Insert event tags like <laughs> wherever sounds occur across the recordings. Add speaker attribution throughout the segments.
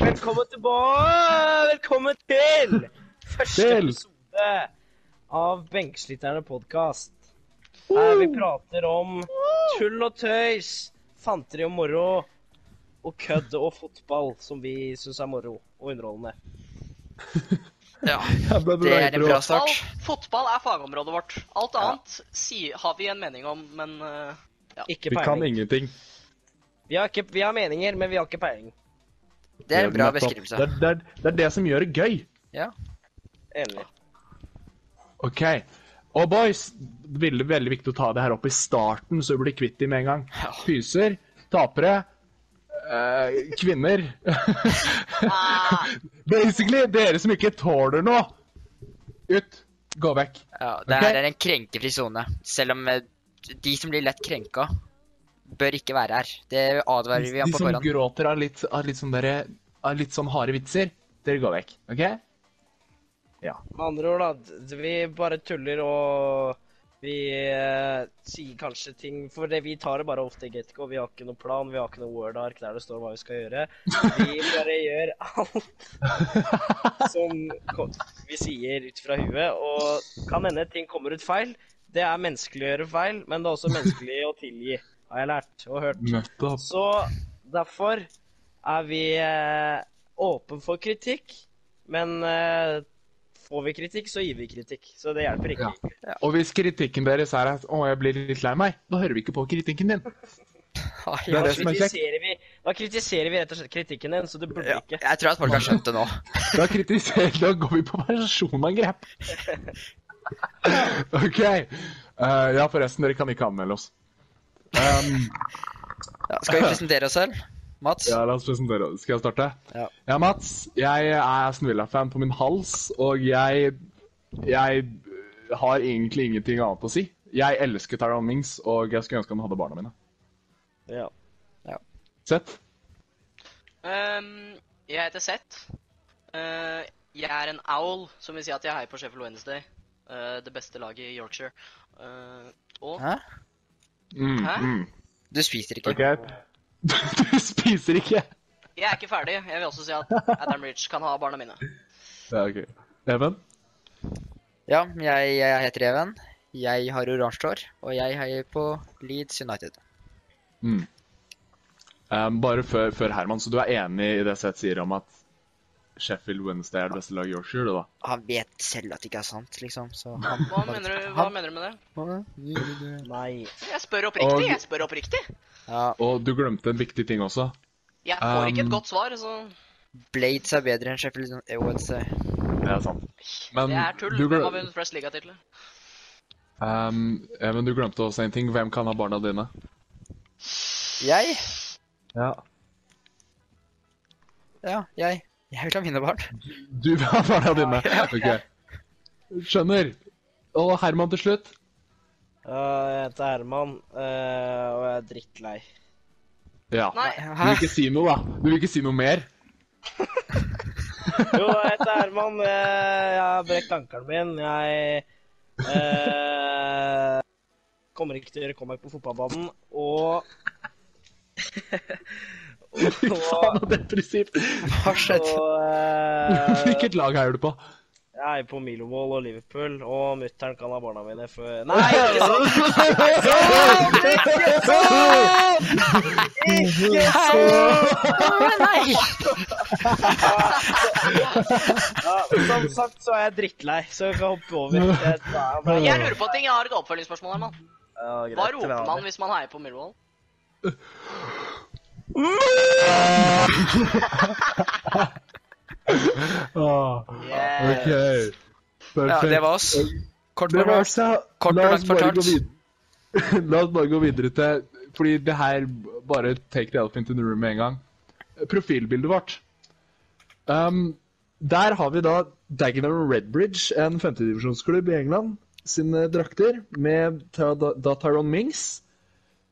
Speaker 1: Velkommen tilbake! Velkommen til første
Speaker 2: Til.
Speaker 1: episode av Benkesliterne podkast. Her vi prater om tull og tøys, fanteri og moro, og kødd og fotball, som vi syns er moro og underholdende.
Speaker 3: Ja,
Speaker 2: Jeg ble
Speaker 3: det er
Speaker 2: bra.
Speaker 3: en bra start.
Speaker 4: Fotball, fotball er fagområdet vårt. Alt annet si, har vi en mening om, men eh,
Speaker 1: Ikke
Speaker 2: Vi kan
Speaker 1: peiling.
Speaker 2: ingenting.
Speaker 1: Vi har, ikke, vi har meninger, men vi har ikke peiling.
Speaker 3: Det er en bra
Speaker 2: nettopp-
Speaker 3: beskrivelse.
Speaker 2: Det er, det, er, det er det som gjør det gøy.
Speaker 1: Enig.
Speaker 2: OK. Og boys, det er veldig, veldig viktig å ta det her opp i starten, så vi blir kvitt dem med en gang.
Speaker 3: Ja.
Speaker 2: Pyser, tapere, eh, kvinner <laughs>
Speaker 4: ah,
Speaker 2: Basically, dere som ikke tåler noe. Ut. Gå vekk.
Speaker 3: Ja, det
Speaker 2: Ok.
Speaker 3: her er en krenkefri sone. Selv om eh, de som blir lett krenka, bør ikke være her. Det advarer vi
Speaker 2: De
Speaker 3: om på
Speaker 2: som
Speaker 3: forhånd.
Speaker 2: gråter av litt, av litt, sånn dere, av litt sånn harde vitser, dere går vekk. OK?
Speaker 1: Med andre ord, da. d- Vi bare tuller og vi eh, sier kanskje ting For det vi tar det bare ofte i Getco. Vi har ikke noe plan, vi har ikke noe Word-ark der det står hva vi skal gjøre. Vi bare gjør alt som ko- vi sier ut fra huet. Og kan hende ting kommer ut feil. Det er menneskelig å gjøre feil, men det er også menneskelig å tilgi, har jeg lært og hørt.
Speaker 2: Nettopp.
Speaker 1: Så derfor er vi eh, åpen for kritikk, men eh, får vi kritikk, så gir vi kritikk. Så det hjelper ikke.
Speaker 2: Og hvis kritikken deres er at 'Å, jeg blir litt lei meg', da hører vi ikke på kritikken din.
Speaker 3: Ah,
Speaker 2: Det
Speaker 3: ja.
Speaker 2: er
Speaker 1: Da,
Speaker 2: det som er kjekt.
Speaker 1: kritiserer vi, da kritiserer vi rett og slett kritikken din, så du burde
Speaker 3: Ja,
Speaker 1: ikke.
Speaker 3: jeg tror at folk har skjønt det nå.
Speaker 2: Da kritiserer Da går vi på personangrep. OK. Eh, ja, forresten, dere kan ikke anmelde oss. Um,
Speaker 3: Ja, skal vi presentere oss selv? Mats?
Speaker 2: ja, la oss presentere oss. Skal jeg starte?
Speaker 3: Ja.
Speaker 2: ja Mats. Jeg er Aston Villa-fan på min hals, og jeg Jeg har egentlig ingenting annet å si. Jeg elsker Tyrone Mings, og jeg skulle ønske han hadde barna mine.
Speaker 1: Ja.
Speaker 2: Sett?
Speaker 4: ehm, jeg heter Seth. Eh, jeg er en owl, som vil si at jeg heier på Sheffield Wednesday. eh, det beste laget i Yorkshire. Eh, og
Speaker 3: Hæ?
Speaker 2: Mm,
Speaker 4: Hæ?
Speaker 2: mm.
Speaker 3: Du spiser ikke.
Speaker 2: OK. <laughs> Du spiser ikke.
Speaker 4: jeg er ikke ferdig. Jeg vil også si at Adam Rich kan ha barna mine.
Speaker 2: Ja, OK. Even?
Speaker 3: Ja, jeg, jeg heter Even. Jeg har oransje hår, og jeg heier på Leeds United.
Speaker 2: Mm. Um, bare før, før Herman, så du er enig i det Seth sier om at Sheffield Wednesday er det beste laget i Yorkshire, du, da?
Speaker 3: Han vet selv at det ikke er sant, liksom, så han
Speaker 4: Hva mener du, hva mener du med det?
Speaker 1: Nei.
Speaker 4: Jeg spør oppriktig.
Speaker 2: Og-
Speaker 4: Jeg spør oppriktig.
Speaker 3: Ja,
Speaker 2: Og du glemte en viktig ting også.
Speaker 4: Jeg får ikke
Speaker 2: Um,
Speaker 4: et godt svar, så
Speaker 3: Blades er bedre enn Sheffield United. Wednesday.
Speaker 2: Det er sant. Men
Speaker 4: det er tull.
Speaker 2: um, du,
Speaker 4: Hvem har
Speaker 2: glem,
Speaker 4: vunnet flest ligatitler?
Speaker 2: um, Even, du glemte også en ting. Hvem kan ha barna dine?
Speaker 3: Jeg?
Speaker 2: Ja.
Speaker 3: Ja, jeg. Jeg vil ha mine barn.
Speaker 2: Du <laughs> vil ha barna dine. Ok. Skjønner. Og Herman til slutt.
Speaker 1: Øh, jeg heter Herman, øh, og jeg er drittlei.
Speaker 2: Ja.
Speaker 4: Nei.
Speaker 2: Du vil ikke si noe, da? Du vil ikke si noe mer?
Speaker 1: Jo, jeg heter Herman. øh, Jeg har brekt ankelen min. Jeg øh, kommer ikke til å gjøre comeback på fotballbanen. Og
Speaker 2: Fy <laughs> faen, så
Speaker 4: <laughs>
Speaker 2: depressivt.
Speaker 3: Hva skjedde?
Speaker 1: Og eh,
Speaker 2: <laughs> Hvilket lag heier du på?
Speaker 1: jeg er på Milvold og Liverpool, og mutter'n kan ha barna mine
Speaker 4: <laughs>
Speaker 1: før Nei, ikke sant!
Speaker 3: Nei!
Speaker 1: Ja, som sagt så er jeg drittlei, så vi kan
Speaker 2: <laughs>
Speaker 1: hoppe over. Jeg tar meg-
Speaker 4: Jeg lurer på en ting. Jeg har et oppfølgingsspørsmål. her, mann.
Speaker 1: Ja, greit,
Speaker 4: Hva
Speaker 1: vi
Speaker 4: roper
Speaker 1: har
Speaker 4: man
Speaker 1: det.
Speaker 4: hvis man heier på Millwall?
Speaker 2: Ah,
Speaker 4: Eh,
Speaker 2: OK.
Speaker 3: Ja, det
Speaker 2: Perfekt.
Speaker 3: var oss. <laughs> Kort
Speaker 2: Det var
Speaker 3: fortalt.
Speaker 2: så
Speaker 3: Kort
Speaker 2: La
Speaker 3: og
Speaker 2: oss
Speaker 3: langt
Speaker 2: bare gå
Speaker 3: fortalt.
Speaker 2: vid- <laughs> La oss bare gå videre til Fordi det her Bare take the elephant in the room med en gang. Profilbildet vårt. Um, der har vi da Dagenham Redbridge, en femtedivisjonsklubb i England, sine drakter, med ta, da, da Tyrone Mings,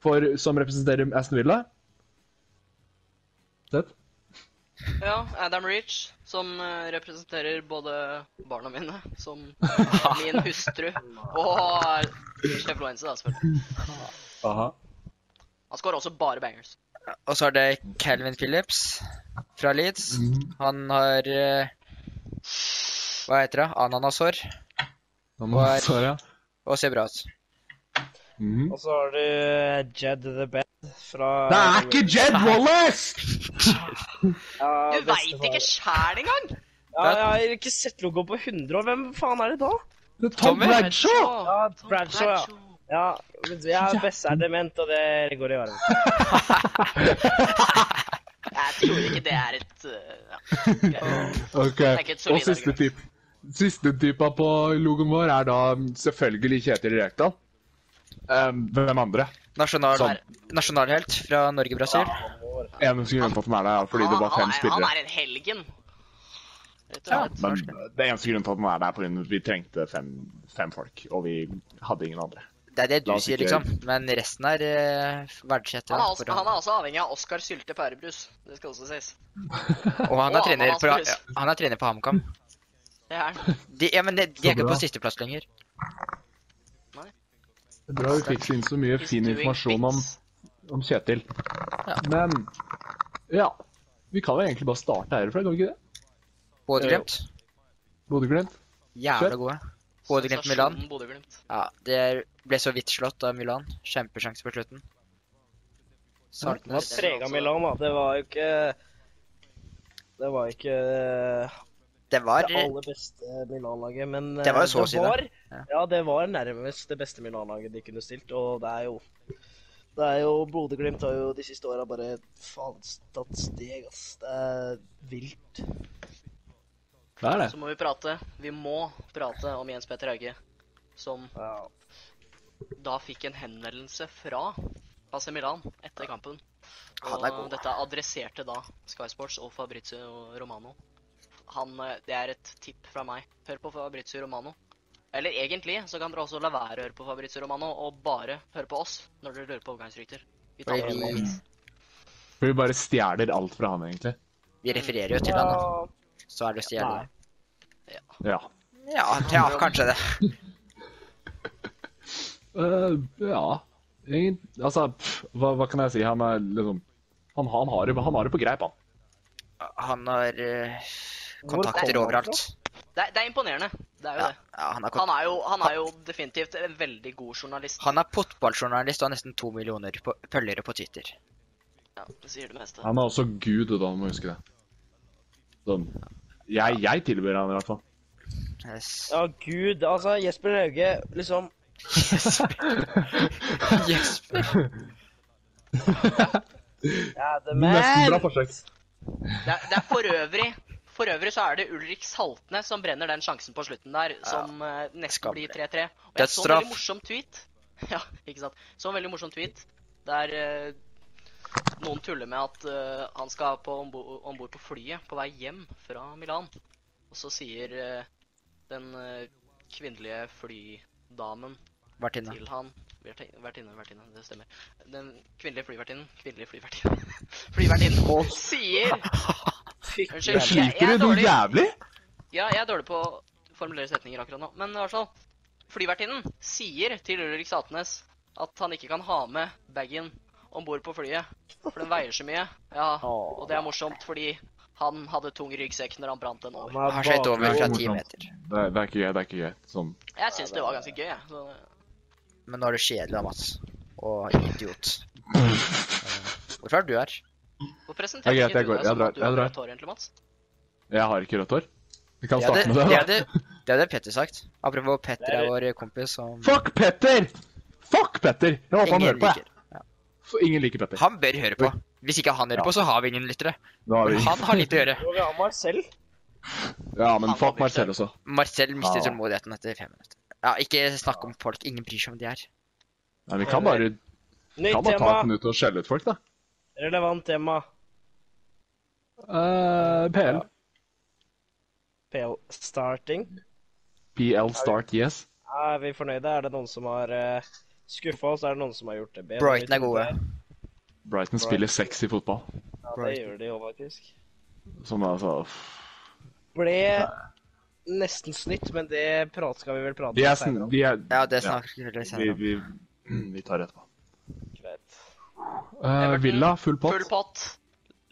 Speaker 2: for, som representerer Aston Villa. Sett?
Speaker 4: Ja, Adam Reach, som eh, representerer både barna mine, som
Speaker 2: <laughs>
Speaker 4: min hustru, og Chef Lorenzo, da, selvfølgelig.
Speaker 2: Aha.
Speaker 4: Han skårer også bare bangers.
Speaker 3: Og så er det Calvin Phillips. fra Leeds.
Speaker 2: Mm.
Speaker 3: Han har eh, Hva heter det? Ananashår.
Speaker 2: Da må
Speaker 3: Hva er-
Speaker 2: svare.
Speaker 3: Og ser bra ut.
Speaker 2: Mm.
Speaker 1: Og så har du eh, Jed the Bed fra
Speaker 2: Det er ikke Jed Wallace!
Speaker 1: Ja,
Speaker 4: Du
Speaker 1: beste
Speaker 4: veit ikke
Speaker 1: far.
Speaker 4: sjæl engang!
Speaker 1: ja, Jeg har ikke sett logoen på 100 år. Hvem faen er det da?
Speaker 2: Det er Tom
Speaker 3: Tommy?
Speaker 2: Bradshaw!
Speaker 1: Ja,
Speaker 4: Tom
Speaker 1: Bradshaw, ja. Ja, men jeg er best er dement, og det går i arven.
Speaker 4: Jeg tror ikke det er et eh, ja. greit.
Speaker 2: <laughs> Ok,
Speaker 4: er ikke et solid
Speaker 2: og siste
Speaker 4: argument.
Speaker 2: typ. Siste typa på logoen vår er da mm, selvfølgelig Kjetil Rekdal. Um, hvem andre?
Speaker 3: Nasjonal,
Speaker 2: Sånn.
Speaker 3: Nasjonalhelt fra Norge-Brasil.
Speaker 2: Eneste grunnen til at han er der, er <laughs> fordi det var
Speaker 4: Han-
Speaker 2: fem
Speaker 4: han er-
Speaker 2: spillere.
Speaker 4: Han er en helgen. Rett og
Speaker 3: Ja.
Speaker 4: slett.
Speaker 2: Men det er eneste grunnen til at han er der, er fordi vi trengte fem, fem folk, og vi hadde ingen andre.
Speaker 3: Det er det du
Speaker 2: La oss
Speaker 3: sier,
Speaker 2: ikke-
Speaker 3: liksom. Men resten er uh, verdsett.
Speaker 4: Han, er
Speaker 3: ja,
Speaker 4: også,
Speaker 3: for å-
Speaker 4: han er også avhengig av Oskar Sylte pærebrus. Det skal også sies.
Speaker 3: Og han
Speaker 4: Og
Speaker 3: er trener på,
Speaker 4: Ananashår.
Speaker 3: ja, han er trener på HamKam.
Speaker 4: Det er han.
Speaker 3: De, ja, men de, de
Speaker 2: Så
Speaker 3: er ikke
Speaker 2: bra.
Speaker 3: på sisteplass lenger.
Speaker 2: Det er Bra vi fikk inn så mye
Speaker 4: He's
Speaker 2: fin
Speaker 4: doing
Speaker 2: informasjon om,
Speaker 4: things.
Speaker 2: om Kjetil.
Speaker 3: Ja.
Speaker 2: Men ja. Vi kan jo egentlig bare starte herfra, kan vi ikke det?
Speaker 3: Bodø-Glimt.
Speaker 2: Bodø-Glimt.
Speaker 3: Jævla
Speaker 2: Fett.
Speaker 3: gode. Bodø-Glimt Milan.
Speaker 4: Sensasjonen Bodø-Glimt.
Speaker 3: Ja, det er- ble så vidt slått av Milan. Kjempesjanse på slutten.
Speaker 1: Det var
Speaker 3: Saltnes.
Speaker 1: prega
Speaker 4: altså-
Speaker 1: Milan, da. Det var jo ikke Det var jo ikke
Speaker 3: Det var
Speaker 1: det aller beste Milan-laget, men eh,
Speaker 3: Det var jo så å si det.
Speaker 1: var-
Speaker 3: Ja.
Speaker 1: Ja, det var nærmest det beste Milan-laget de kunne stilt, og det er jo det er jo, Bodø-Glimt har jo de siste åra bare faen tatt steg, ass. Det er vilt.
Speaker 2: Det er det.
Speaker 4: Så må vi prate. Vi må prate om Jens Petter Hauge, som
Speaker 1: Ja.
Speaker 4: da fikk en henvendelse fra AC Milan etter kampen.
Speaker 3: Han er
Speaker 4: Og
Speaker 3: god.
Speaker 4: dette adresserte da Sky Sports og Fabrizio Romano. Han, eh, det er et tipp fra meg. Hør på Fabrizio Romano. Eller egentlig så kan dere også la være å høre på Fabrizio Romano, og bare høre på oss når dere lurer på overgangsrykter. Vi tar
Speaker 3: Fordi
Speaker 4: det
Speaker 3: vi,
Speaker 2: For vi bare stjeler alt fra han, egentlig.
Speaker 3: vi refererer jo til han, da. Så er det å si
Speaker 1: Nei.
Speaker 3: det.
Speaker 2: Ja.
Speaker 3: Ja, ja, kanskje det.
Speaker 2: Eh, ja Egent, Altså, pff, hva, hva kan jeg si? Han er liksom Han, han, har, det, han har det på greip, han.
Speaker 3: Han har eh,
Speaker 1: Hvor
Speaker 3: kontakter
Speaker 1: kommer han
Speaker 3: overalt.
Speaker 4: Det, er- det er imponerende. Det er jo
Speaker 3: Ja,
Speaker 4: det.
Speaker 3: ja, han, er
Speaker 4: Han
Speaker 3: kon
Speaker 4: er jo, han er jo definitivt en veldig god journalist.
Speaker 3: han er fotballjournalist og har nesten to millioner på, følgere på Twitter.
Speaker 4: Ja, det sier det meste.
Speaker 2: Han er også gud, da, må huske det. Sånn. Jeg, jeg tilbyr han i hvert fall.
Speaker 3: Yes. <laughs>
Speaker 1: Ja, gud. Altså, Jesper Hauge, liksom
Speaker 3: Jesper.
Speaker 1: Ja, det
Speaker 2: <laughs> Nesten
Speaker 1: men
Speaker 2: bra forsøk.
Speaker 4: Det er, det er for øvrig For øvrig så er det Ulrik Saltnes som brenner den sjansen på slutten der, som eh, nesten
Speaker 3: Skammelig.
Speaker 4: blir 3-3. Og jeg så en
Speaker 3: Det er
Speaker 4: veldig
Speaker 3: straff.
Speaker 4: morsom tweet. <laughs> Ja, ikke sant. Så en veldig morsom tweet der eh, noen tuller med at eh, han skal på om bord på flyet på vei hjem fra Milan. Og så sier eh, den eh, kvinnelige flydamen
Speaker 3: Martina.
Speaker 4: til han Vertinne, vertinne, vertinne, det stemmer. Den kvinnelige flyvertinnen Kvinnelige flyvertinnen. <laughs> Flyvertinnen
Speaker 2: <laughs>
Speaker 4: sier Unnskyld,
Speaker 2: Jeg
Speaker 4: jeg, jeg
Speaker 2: sliter
Speaker 4: er
Speaker 2: i noe
Speaker 4: dårlig.
Speaker 2: jævlig.
Speaker 4: Ja, jeg er dårlig på å formulere setninger akkurat nå. Men i hvert fall, flyvertinnen sier til Ulrik Saltnes at han ikke kan ha med bagen om bord på flyet, for den veier så mye. Ja, og det er morsomt fordi han hadde tung ryggsekk når han brant den over.
Speaker 1: Han er
Speaker 3: Har sett
Speaker 1: bakfull.
Speaker 3: over fra ti
Speaker 2: Morsomt.
Speaker 3: meter.
Speaker 2: Det, er- det er ikke gøy. det er ikke gøy. Sånn.
Speaker 4: Jeg syns det var ganske gøy, jeg. Så
Speaker 3: Men nå er du kjedelig, da, Mats. Og idiot. Eh, Hvorfor er du her?
Speaker 4: hvorfor presenterte
Speaker 2: Det er greit,
Speaker 4: ikke
Speaker 2: jeg
Speaker 4: du
Speaker 2: går.
Speaker 4: deg
Speaker 2: Jeg
Speaker 4: som
Speaker 2: drar,
Speaker 4: at du har
Speaker 2: jeg drar.
Speaker 4: rødt hår, egentlig, Mats?
Speaker 2: Jeg har ikke rødt hår. Vi kan
Speaker 3: Det hadde,
Speaker 2: starte med
Speaker 3: det,
Speaker 2: det. da.
Speaker 3: hadde, det hadde Petter sagt. Apropos Petter er vår kompis som
Speaker 2: Fuck Petter! Fuck Petter! Jeg håper han hører på. jeg.
Speaker 3: liker.
Speaker 2: For Ingen liker Petter.
Speaker 3: Han bør høre på. Hvis ikke han hører
Speaker 2: Ja.
Speaker 3: på, så har vi ingen lyttere.
Speaker 2: Da har
Speaker 3: Men
Speaker 2: vi...
Speaker 3: han har litt å gjøre.
Speaker 1: Og vi har Marcel.
Speaker 2: Ja, men
Speaker 4: Han
Speaker 2: fuck
Speaker 4: kommer
Speaker 2: Marcel også.
Speaker 3: Marcel mister
Speaker 2: Ja.
Speaker 3: tålmodigheten etter fem minutter. Ja, ikke snakk om folk. Ingen bryr seg om de er.
Speaker 2: Nei, vi kan bare,
Speaker 1: Nytt
Speaker 2: kan bare ta et
Speaker 1: tema.
Speaker 2: minutt og skjelle ut folk, da.
Speaker 1: Relevant tema.
Speaker 2: Eh, PL.
Speaker 1: PL starting.
Speaker 2: PL start yes.
Speaker 1: Er vi fornøyde? Er det noen som har uh, skuffa oss? Er det noen som har gjort det bedre?
Speaker 3: Brighton er gode.
Speaker 2: Brighton spiller sexy fotball.
Speaker 1: Ja, det
Speaker 3: Brighton.
Speaker 1: gjør de jo faktisk.
Speaker 2: Som altså
Speaker 1: Ble nesten snytt, men det prat skal vi vel prate
Speaker 2: De er sn...
Speaker 1: senere om.
Speaker 2: De er
Speaker 3: Ja, det snakker vi
Speaker 2: vi,
Speaker 3: senere om.
Speaker 2: vi, vi tar det etterpå.
Speaker 1: Greit.
Speaker 2: Eh,
Speaker 4: Everton,
Speaker 2: Villa, full pott.
Speaker 4: Full pott.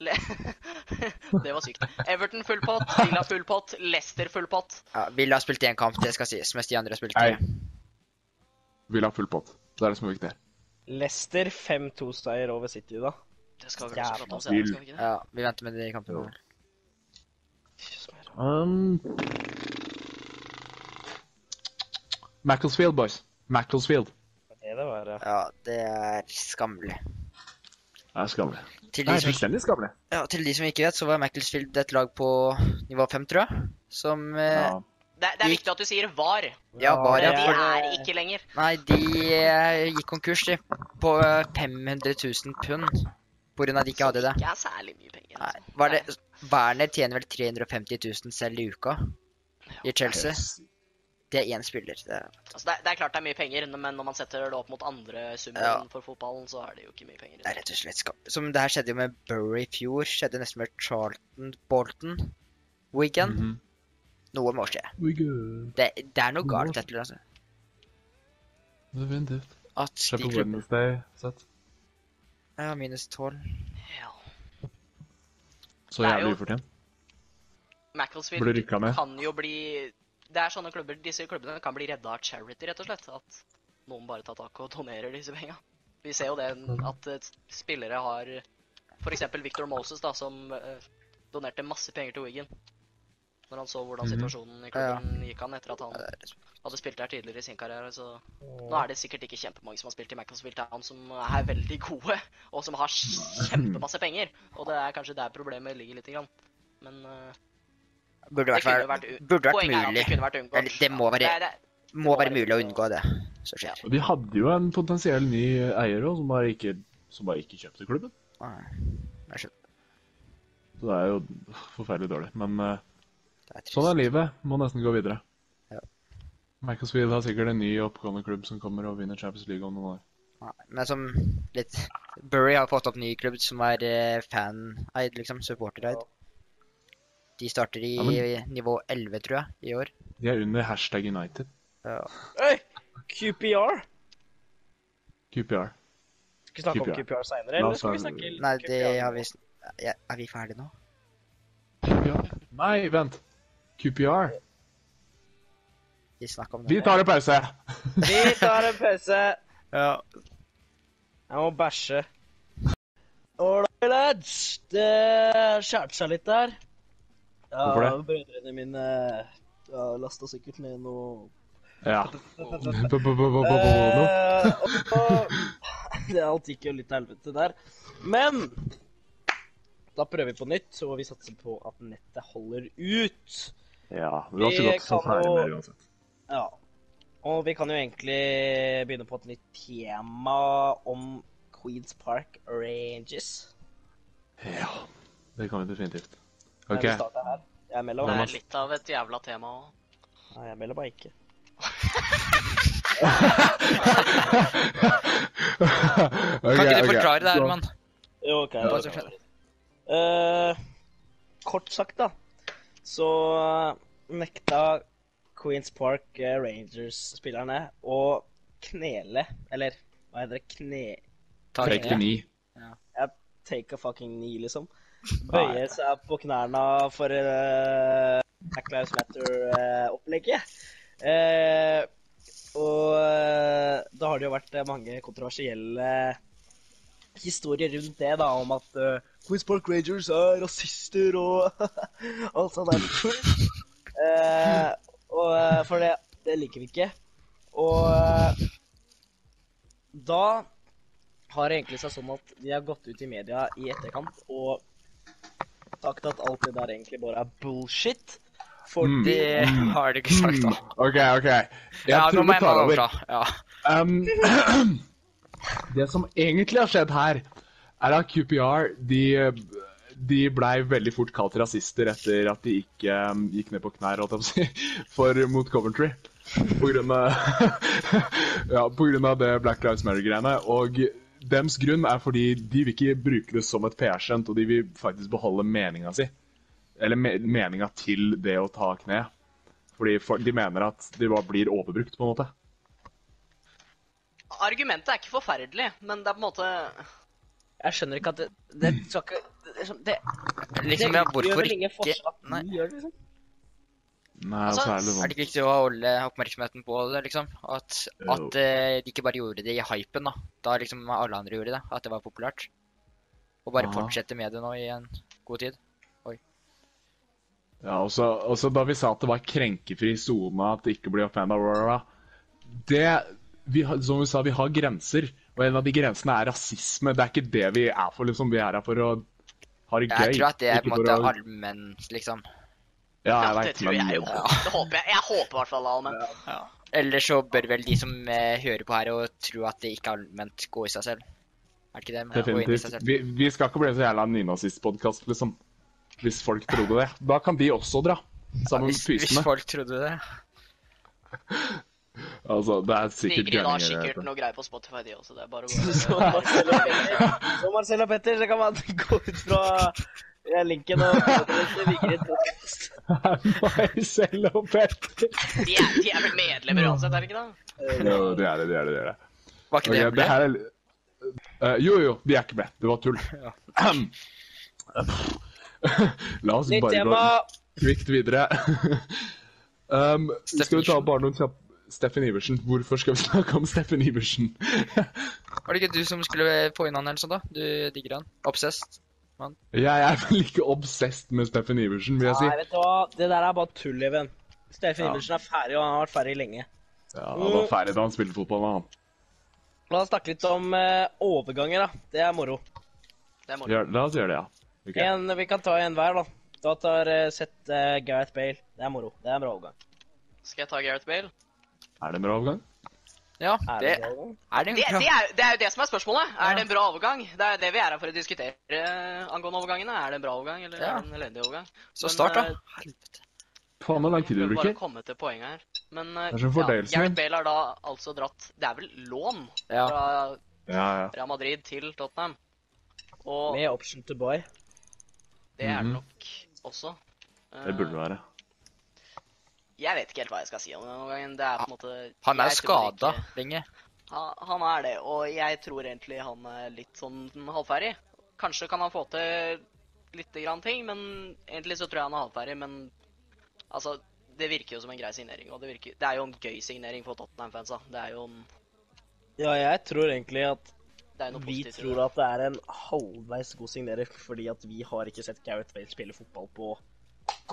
Speaker 4: Le <laughs> det var sykt. Everton full pott, Villa full pott, Leicester full pott.
Speaker 3: Ja, Villa har spilt én kamp, det skal sies, mens de andre har spilt
Speaker 2: Nei.
Speaker 3: tre.
Speaker 2: Vil ha full pott. Det er det som er viktig her.
Speaker 1: Leicester 5-2-seier over City, da.
Speaker 4: Det skal vi vel også
Speaker 1: Jævla
Speaker 4: prate om senere, skal vi ikke det?
Speaker 3: Ja, vi venter med de kampene.
Speaker 1: Fy smør.
Speaker 2: Um... Macclesfield, boys. Macclesfield.
Speaker 1: Hva er det var, ja.
Speaker 3: Ja, det er skammelig.
Speaker 2: Det er skammelig. Det
Speaker 3: Til de
Speaker 2: er
Speaker 3: som ikke,
Speaker 2: fullstendig skammelig.
Speaker 3: ja, til de som ikke vet, så var Macclesfield et lag på nivå fem, tror jeg. Som eh,
Speaker 2: Ja.
Speaker 4: Det, det er viktig at du sier var.
Speaker 3: Ja, var,
Speaker 4: De
Speaker 3: ja.
Speaker 1: det er-
Speaker 4: er ikke lenger.
Speaker 3: Nei, de eh, gikk konkurs, de. På eh, 500 000 pund. På grunn av at de ikke hadde det.
Speaker 4: Ikke er særlig mye penger.
Speaker 3: Nei,
Speaker 4: altså.
Speaker 3: var det Werner tjener vel 350 000 selv i uka i Chelsea. Det er én spiller. Det er,
Speaker 4: Altså, det, er- det er klart det er mye penger, men når man setter det opp mot andre summer
Speaker 3: Ja.
Speaker 4: for fotballen, så er det jo ikke mye penger. i
Speaker 3: det
Speaker 4: det.
Speaker 3: er rett og slett skap. Som det her skjedde jo med Bury i fjor. Skjedde nesten med Charlton Bolton Weekend.
Speaker 2: Mhm.
Speaker 3: Noe må skje. Det, det er noe galt etter det, altså.
Speaker 2: Definitivt.
Speaker 3: At
Speaker 2: Se
Speaker 3: de
Speaker 2: på
Speaker 3: klubbene
Speaker 2: Wednesday. Sett.
Speaker 3: Ja, minus 12.
Speaker 4: Ja.
Speaker 2: Så
Speaker 4: Det er
Speaker 2: jævlig
Speaker 4: jo-
Speaker 2: ufortjent.
Speaker 4: Macclesfield
Speaker 2: Burde rykka ned.
Speaker 4: kan jo bli Det er sånne klubber, Disse klubbene kan bli redda av charity, rett og slett. At noen bare tar tak og donerer disse penga. Vi ser jo det at eh, spillere har F.eks. Victor Moses, da, som eh, donerte masse penger til Wigan. Når han så hvordan
Speaker 2: Mhm.
Speaker 4: situasjonen i klubben gikk an etter at han hadde spilt der tidligere i sin karriere. Så nå er det sikkert ikke kjempemange som har spilt i Macclesfield Town som er veldig gode, og som har kjempemasse penger. Og det er kanskje der problemet ligger lite grann. Men eh,
Speaker 3: Burde
Speaker 4: det
Speaker 3: vært,
Speaker 4: kunne
Speaker 3: vært,
Speaker 4: vært, u-
Speaker 3: burde vært
Speaker 4: Poenget er at
Speaker 3: mulig.
Speaker 4: Det kunne vært unngått.
Speaker 3: Eller, det må
Speaker 4: Ja,
Speaker 3: være-
Speaker 4: det,
Speaker 3: Må være
Speaker 4: være
Speaker 3: mulig
Speaker 4: mulig
Speaker 3: å
Speaker 4: å-
Speaker 3: unngå det som skjer.
Speaker 2: Og De hadde jo en potensiell ny eier også, som bare ikke, som bare ikke kjøpte klubben.
Speaker 3: Nei, jeg skjønner.
Speaker 2: Så det er jo forferdelig dårlig. Men eh,
Speaker 3: Det er trist.
Speaker 2: sånn er livet. Må nesten gå videre.
Speaker 3: Ja.
Speaker 2: Macclesfield har sikkert en ny oppgående klubb som kommer og vinner Champions League om noen år.
Speaker 3: Nei, men som litt Bury har fått opp ny klubb som er eh, fan-eid, liksom. Supporter-eid. De starter i
Speaker 2: Ja, men-
Speaker 3: nivå 11, tror jeg, i år.
Speaker 2: De er under hashtag United.
Speaker 3: Ja.
Speaker 1: Øy! QPR?
Speaker 2: QPR.
Speaker 1: Skal vi snakke om
Speaker 2: QPR.
Speaker 1: QPR seinere,
Speaker 2: La
Speaker 1: eller
Speaker 2: oss
Speaker 1: skal vi
Speaker 2: ta-
Speaker 1: snakke
Speaker 3: Nei, det
Speaker 1: QPR?
Speaker 3: har vi sn- ja, Er vi ferdige nå?
Speaker 2: QPR. Nei, vent. QPR.
Speaker 3: Vi snakker om det.
Speaker 2: Vi tar en pause.
Speaker 1: Vi tar en pause.
Speaker 3: Ja.
Speaker 1: Jeg må bæsje. Alright, lads. Det skjærte seg litt der. Ja,
Speaker 2: Hvorfor
Speaker 1: Brødrene mine ja, lasta sikkert ned noe
Speaker 4: <laughs>
Speaker 2: Ja. <laughs> Nå.
Speaker 1: Eh, og- og- Det alt gikk jo litt til helvete der. Men da prøver vi på nytt, og vi satser på at nettet holder ut.
Speaker 2: Ja. Vi har
Speaker 1: Vi
Speaker 2: ikke gått så
Speaker 1: kan
Speaker 2: ferdig
Speaker 1: jo-
Speaker 2: med det uansett.
Speaker 1: Ja. Og vi kan jo egentlig begynne på et nytt tema om Queens Park Ranges.
Speaker 2: Ja. Det kan vi definitivt.
Speaker 1: Nei,
Speaker 2: OK. <laughs>
Speaker 1: vi starter her. Jeg melder
Speaker 4: det
Speaker 1: meg.
Speaker 4: er litt av et jævla tema òg.
Speaker 1: Nei, jeg melder meg ikke.
Speaker 3: Kan ikke
Speaker 2: Ok,
Speaker 3: du
Speaker 2: ok.
Speaker 3: forklare det,
Speaker 2: Så-
Speaker 3: Herman?
Speaker 1: Jo, ok.
Speaker 3: Hva
Speaker 1: det
Speaker 3: som
Speaker 1: kan
Speaker 3: skjer?
Speaker 1: være. Eh, kort sagt, da, så eh, nekta Queens Park eh, Rangers-spillerne å knele Eller hva heter det? Kne...
Speaker 3: Ta
Speaker 2: Take the
Speaker 3: det.
Speaker 2: knee.
Speaker 1: Take a fucking knee, liksom.
Speaker 2: Nei.
Speaker 1: Bøye seg på knærne for eh, Black Lives Matter-opplegget. Eh, og eh, da har det jo vært eh, mange kontroversielle historier rundt det, da, om at eh, Queens Park Rangers er rasister og <laughs> alt sånt der. Eh, og, eh, for det, det liker vi ikke. Og eh, da har det egentlig seg sånn at de har gått ut i media i etterkant og sagt at alt det der egentlig bare er bullshit. Fordi
Speaker 3: Det har du ikke sagt, da.
Speaker 2: OK, OK. Mm. Jeg
Speaker 3: Ja, nå
Speaker 2: tror
Speaker 3: må
Speaker 2: vi
Speaker 3: jeg
Speaker 2: tar
Speaker 3: må
Speaker 2: over.
Speaker 3: overta. Ja.
Speaker 2: Um, <clears throat> det som egentlig har skjedd her, er at QPR de, de blei veldig fort kalt rasister etter at de ikke um, gikk ned på knær holdt jeg på å si, <laughs> for, mot Coventry. På grunn av, <laughs> ja, på grunn av det Black Lives Matter-greiene. Og dems grunn er fordi de vil ikke bruke det som et PR-skjønt, og de vil faktisk beholde meninga si. Eller me meninga til det å ta kne. Fordi for, de mener at de bare blir overbrukt, på en måte.
Speaker 4: Argumentet er ikke forferdelig, men det er på en måte
Speaker 1: Jeg skjønner ikke at det Det skal ikke Det, liksom, det,
Speaker 3: Liksom, ja,
Speaker 1: gjør
Speaker 3: hvorfor
Speaker 1: vel ingen
Speaker 3: ikke?
Speaker 1: forskjell at du
Speaker 3: Nei.
Speaker 1: gjør det, liksom. <laughs>
Speaker 2: Nei,
Speaker 4: Altså,
Speaker 2: særlig
Speaker 3: Er
Speaker 2: sånn.
Speaker 3: det ikke viktig å holde oppmerksomheten på det, liksom? At, at eh, de ikke bare gjorde det i hypen, da. Da liksom alle andre gjorde det. At det var populært. Og bare
Speaker 2: Aha.
Speaker 3: fortsette med det nå i en god tid.
Speaker 2: Ja, også, også da vi sa at det var krenkefri sone, at det ikke blir offenda, bla, bla, bla. Det, vi har, som vi sa, vi har grenser. Og en av de grensene er rasisme. Det er ikke det vi er for, liksom. Vi er her for å ha det gøy.
Speaker 3: Jeg tror at det er på
Speaker 2: ikke
Speaker 3: en
Speaker 2: for
Speaker 3: måte
Speaker 2: å-
Speaker 3: allmenn, liksom.
Speaker 2: Ja,
Speaker 4: Ja,
Speaker 2: jeg
Speaker 4: det
Speaker 2: vet,
Speaker 4: tror jeg jo.
Speaker 3: Ja.
Speaker 4: Det håper jeg. Jeg håper i hvert fall det, men
Speaker 3: Eller så bør vel de som eh, hører på her og tror at det ikke er allment, gå i seg selv. Er det ikke det? Men, gå inn i
Speaker 2: <laughs>
Speaker 3: seg
Speaker 2: Definitivt.
Speaker 3: selv.
Speaker 2: Vi, vi skal ikke bli så jævla nynazistpodkast, liksom. Hvis folk trodde det. Da kan de også dra. Sammen med
Speaker 3: Hvis, hvis
Speaker 2: pysene.
Speaker 3: folk trodde det.
Speaker 2: Altså, det altså. er sikkert
Speaker 4: Sigrid har
Speaker 2: gærninger,
Speaker 4: sikkert
Speaker 2: <laughs> vet du.
Speaker 4: noe greier på Spotify, de også. Det er
Speaker 1: <laughs>
Speaker 4: bare å
Speaker 1: Så
Speaker 4: gå
Speaker 1: Marcel og Petter, så Marcel og Petter, så kan man <laughs> gå ut fra eh, linken
Speaker 2: <laughs>
Speaker 1: og
Speaker 2: Marcel og
Speaker 3: <laughs>
Speaker 2: Petter.
Speaker 4: De er, de er vel medlemmer uansett, er det ikke det?
Speaker 2: Jo, det er det, det er det. det, er det.
Speaker 3: Var
Speaker 2: Ok,
Speaker 3: ikke det
Speaker 2: det
Speaker 3: ble?
Speaker 2: her er... Eh, jo, jo, de er ikke med. Det var <laughs> tull. <clears throat> La oss
Speaker 1: Nytt
Speaker 2: bare gå
Speaker 1: tema.
Speaker 2: kvikt videre. <laughs> um, skal vi ta
Speaker 3: Steffen
Speaker 2: bare noen kjappe Steffen Iversen. Hvorfor skal vi <laughs> snakke om Steffen Iversen? <laughs>
Speaker 3: Var det ikke du som skulle få inn han eller sånn, da? Du digger han. Obsessed.
Speaker 2: Jeg er vel ikke obsessed med Steffen Iversen, vil jeg si.
Speaker 1: Nei, vet du hva? Det der er bare tull, Even. Steffen
Speaker 2: Ja.
Speaker 1: Iversen er ferdig, og han har vært ferdig lenge.
Speaker 2: Ja, Han var ferdig da han spilte fotball. da, han.
Speaker 1: La oss snakke litt om eh, overganger, da. Det er moro.
Speaker 4: Det er moro.
Speaker 2: Gjør, la oss gjøre det, ja. Ok.
Speaker 1: En, vi kan ta en hver, da. Da tar eh, Seth eh, Gareth Bale. Det er moro. Det er en bra overgang.
Speaker 4: Skal jeg ta Gareth Bale?
Speaker 2: Er det en bra overgang?
Speaker 3: Ja,
Speaker 1: Er
Speaker 3: det
Speaker 1: det en bra overgang?
Speaker 3: er
Speaker 4: Det,
Speaker 3: det en
Speaker 4: det,
Speaker 3: bra
Speaker 4: er, det er jo det som er spørsmålet.
Speaker 3: Ja.
Speaker 4: Er det en bra overgang? Det er det vi er her for å diskutere eh, angående overgangene. Er det en bra overgang, eller
Speaker 3: Ja.
Speaker 4: er det en elendig overgang?
Speaker 3: Så
Speaker 4: Men,
Speaker 3: start,
Speaker 4: eh,
Speaker 3: da. Helvete.
Speaker 2: Faen, hvor lang tid det
Speaker 4: Prøver bare å
Speaker 2: bruker.
Speaker 4: komme til poenget her. Men eh,
Speaker 2: Det er så fordøyelsen
Speaker 4: Gareth
Speaker 2: din.
Speaker 4: Bale har da altså dratt Det er vel lån
Speaker 3: Ja.
Speaker 4: fra
Speaker 2: Ja, ja.
Speaker 4: Real Madrid til Tottenham. Og
Speaker 1: Med option to buy.
Speaker 4: det er det
Speaker 2: Mhm.
Speaker 4: nok også. Eh,
Speaker 2: Det burde det være.
Speaker 4: Jeg vet ikke helt hva jeg skal si om den overgangen. Det er på en måte
Speaker 3: Han er jo
Speaker 4: jeg tror
Speaker 3: skada
Speaker 4: ikke-
Speaker 3: lenge.
Speaker 4: Han, han er det, og jeg tror egentlig han er litt sånn halvferdig. Kanskje kan han få til lite grann ting, men egentlig så tror jeg han er halvferdig. Men altså, det virker jo som en grei signering, og det, virker, det er jo en gøy signering for Tottenham-fansa. Det er jo en,
Speaker 1: Ja, jeg tror egentlig at
Speaker 4: det er jo noe
Speaker 1: vi
Speaker 4: positivt. i
Speaker 1: tror
Speaker 4: det.
Speaker 1: at det er en halvveis god signering, fordi at vi har ikke sett Gareth Bale spille fotball på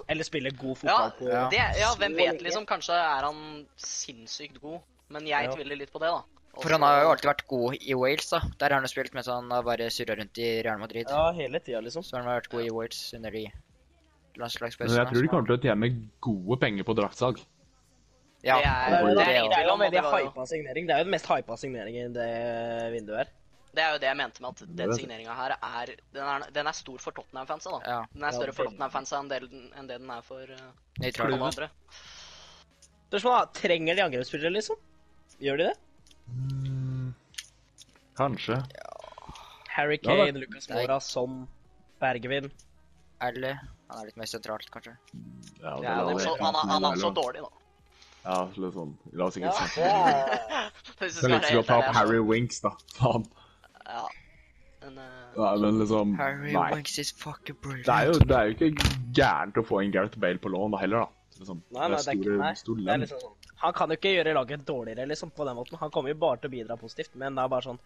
Speaker 1: Eller spille god fotball på
Speaker 4: ja, det, ja, hvem
Speaker 1: så
Speaker 4: vet,
Speaker 1: lenge.
Speaker 4: liksom. Kanskje er han sinnssykt god, men jeg
Speaker 1: Ja.
Speaker 4: tviler litt på det, da. Og
Speaker 3: For han
Speaker 4: så-
Speaker 3: har jo alltid vært god i Wales, da. Der har han jo spilt mens han har bare surra rundt i Real Madrid.
Speaker 1: Ja, hele tida, liksom.
Speaker 3: Så han har vært god i Wales under de
Speaker 2: Men
Speaker 3: landslagspausene.
Speaker 2: jeg tror de kommer til å tjene gode penger på draktsalg.
Speaker 3: Ja,
Speaker 4: Det er-
Speaker 1: Det er, jo-
Speaker 3: det
Speaker 1: det er,
Speaker 3: også.
Speaker 1: det er jo en
Speaker 4: Det
Speaker 1: veldig
Speaker 4: var jo-
Speaker 1: hypa signering. Det er jo den mest hypa signeringen i det vinduet her.
Speaker 4: Det er jo det jeg mente med at
Speaker 2: Det
Speaker 4: den
Speaker 2: vet jeg.
Speaker 4: signeringa her er den, er den er stor for Tottenham-fansa, da.
Speaker 3: Ja,
Speaker 4: Den er
Speaker 1: Ja,
Speaker 4: større for
Speaker 1: veldig.
Speaker 4: Tottenham-fansa enn, det den- enn det den er for eh,
Speaker 3: nøytral.
Speaker 4: alle andre.
Speaker 1: Spørsmålet er, trenger de angrepsspillere, liksom? Gjør de det?
Speaker 2: Kanskje.
Speaker 1: Harry
Speaker 2: Ja,
Speaker 1: Kane,
Speaker 2: det-
Speaker 1: Lucas Mora, Son, Bergevin.
Speaker 3: Eller han er litt mer sentralt, kanskje.
Speaker 2: Ja,
Speaker 1: Ja,
Speaker 4: Han
Speaker 1: det
Speaker 4: er
Speaker 1: blir
Speaker 4: så, han er, han er så dårlig, da.
Speaker 2: Ja, litt sånn. La oss
Speaker 1: Ja,
Speaker 2: ikke snakke
Speaker 1: det er...
Speaker 4: Hvis vi
Speaker 2: Det er
Speaker 4: skal
Speaker 2: litt
Speaker 4: være
Speaker 2: som å
Speaker 4: helt
Speaker 2: ta opp
Speaker 4: ærlige, altså.
Speaker 2: Harry Winks, da. Faen.
Speaker 4: Ja. Men, eh,
Speaker 2: Nei, men liksom
Speaker 3: Harry
Speaker 2: Nei.
Speaker 3: Winks is fucking brilliant.
Speaker 2: Det er jo, det er jo ikke gærent å få inn Gareth Bale på lån da heller, da. Liksom,
Speaker 1: Nei, nei, det er ikke
Speaker 2: store-
Speaker 1: nei.
Speaker 2: stor
Speaker 1: Det er
Speaker 2: lønn.
Speaker 1: liksom sånn. Han kan jo ikke gjøre laget dårligere, liksom, på den måten. Han kommer jo bare til å bidra positivt, men det er bare sånn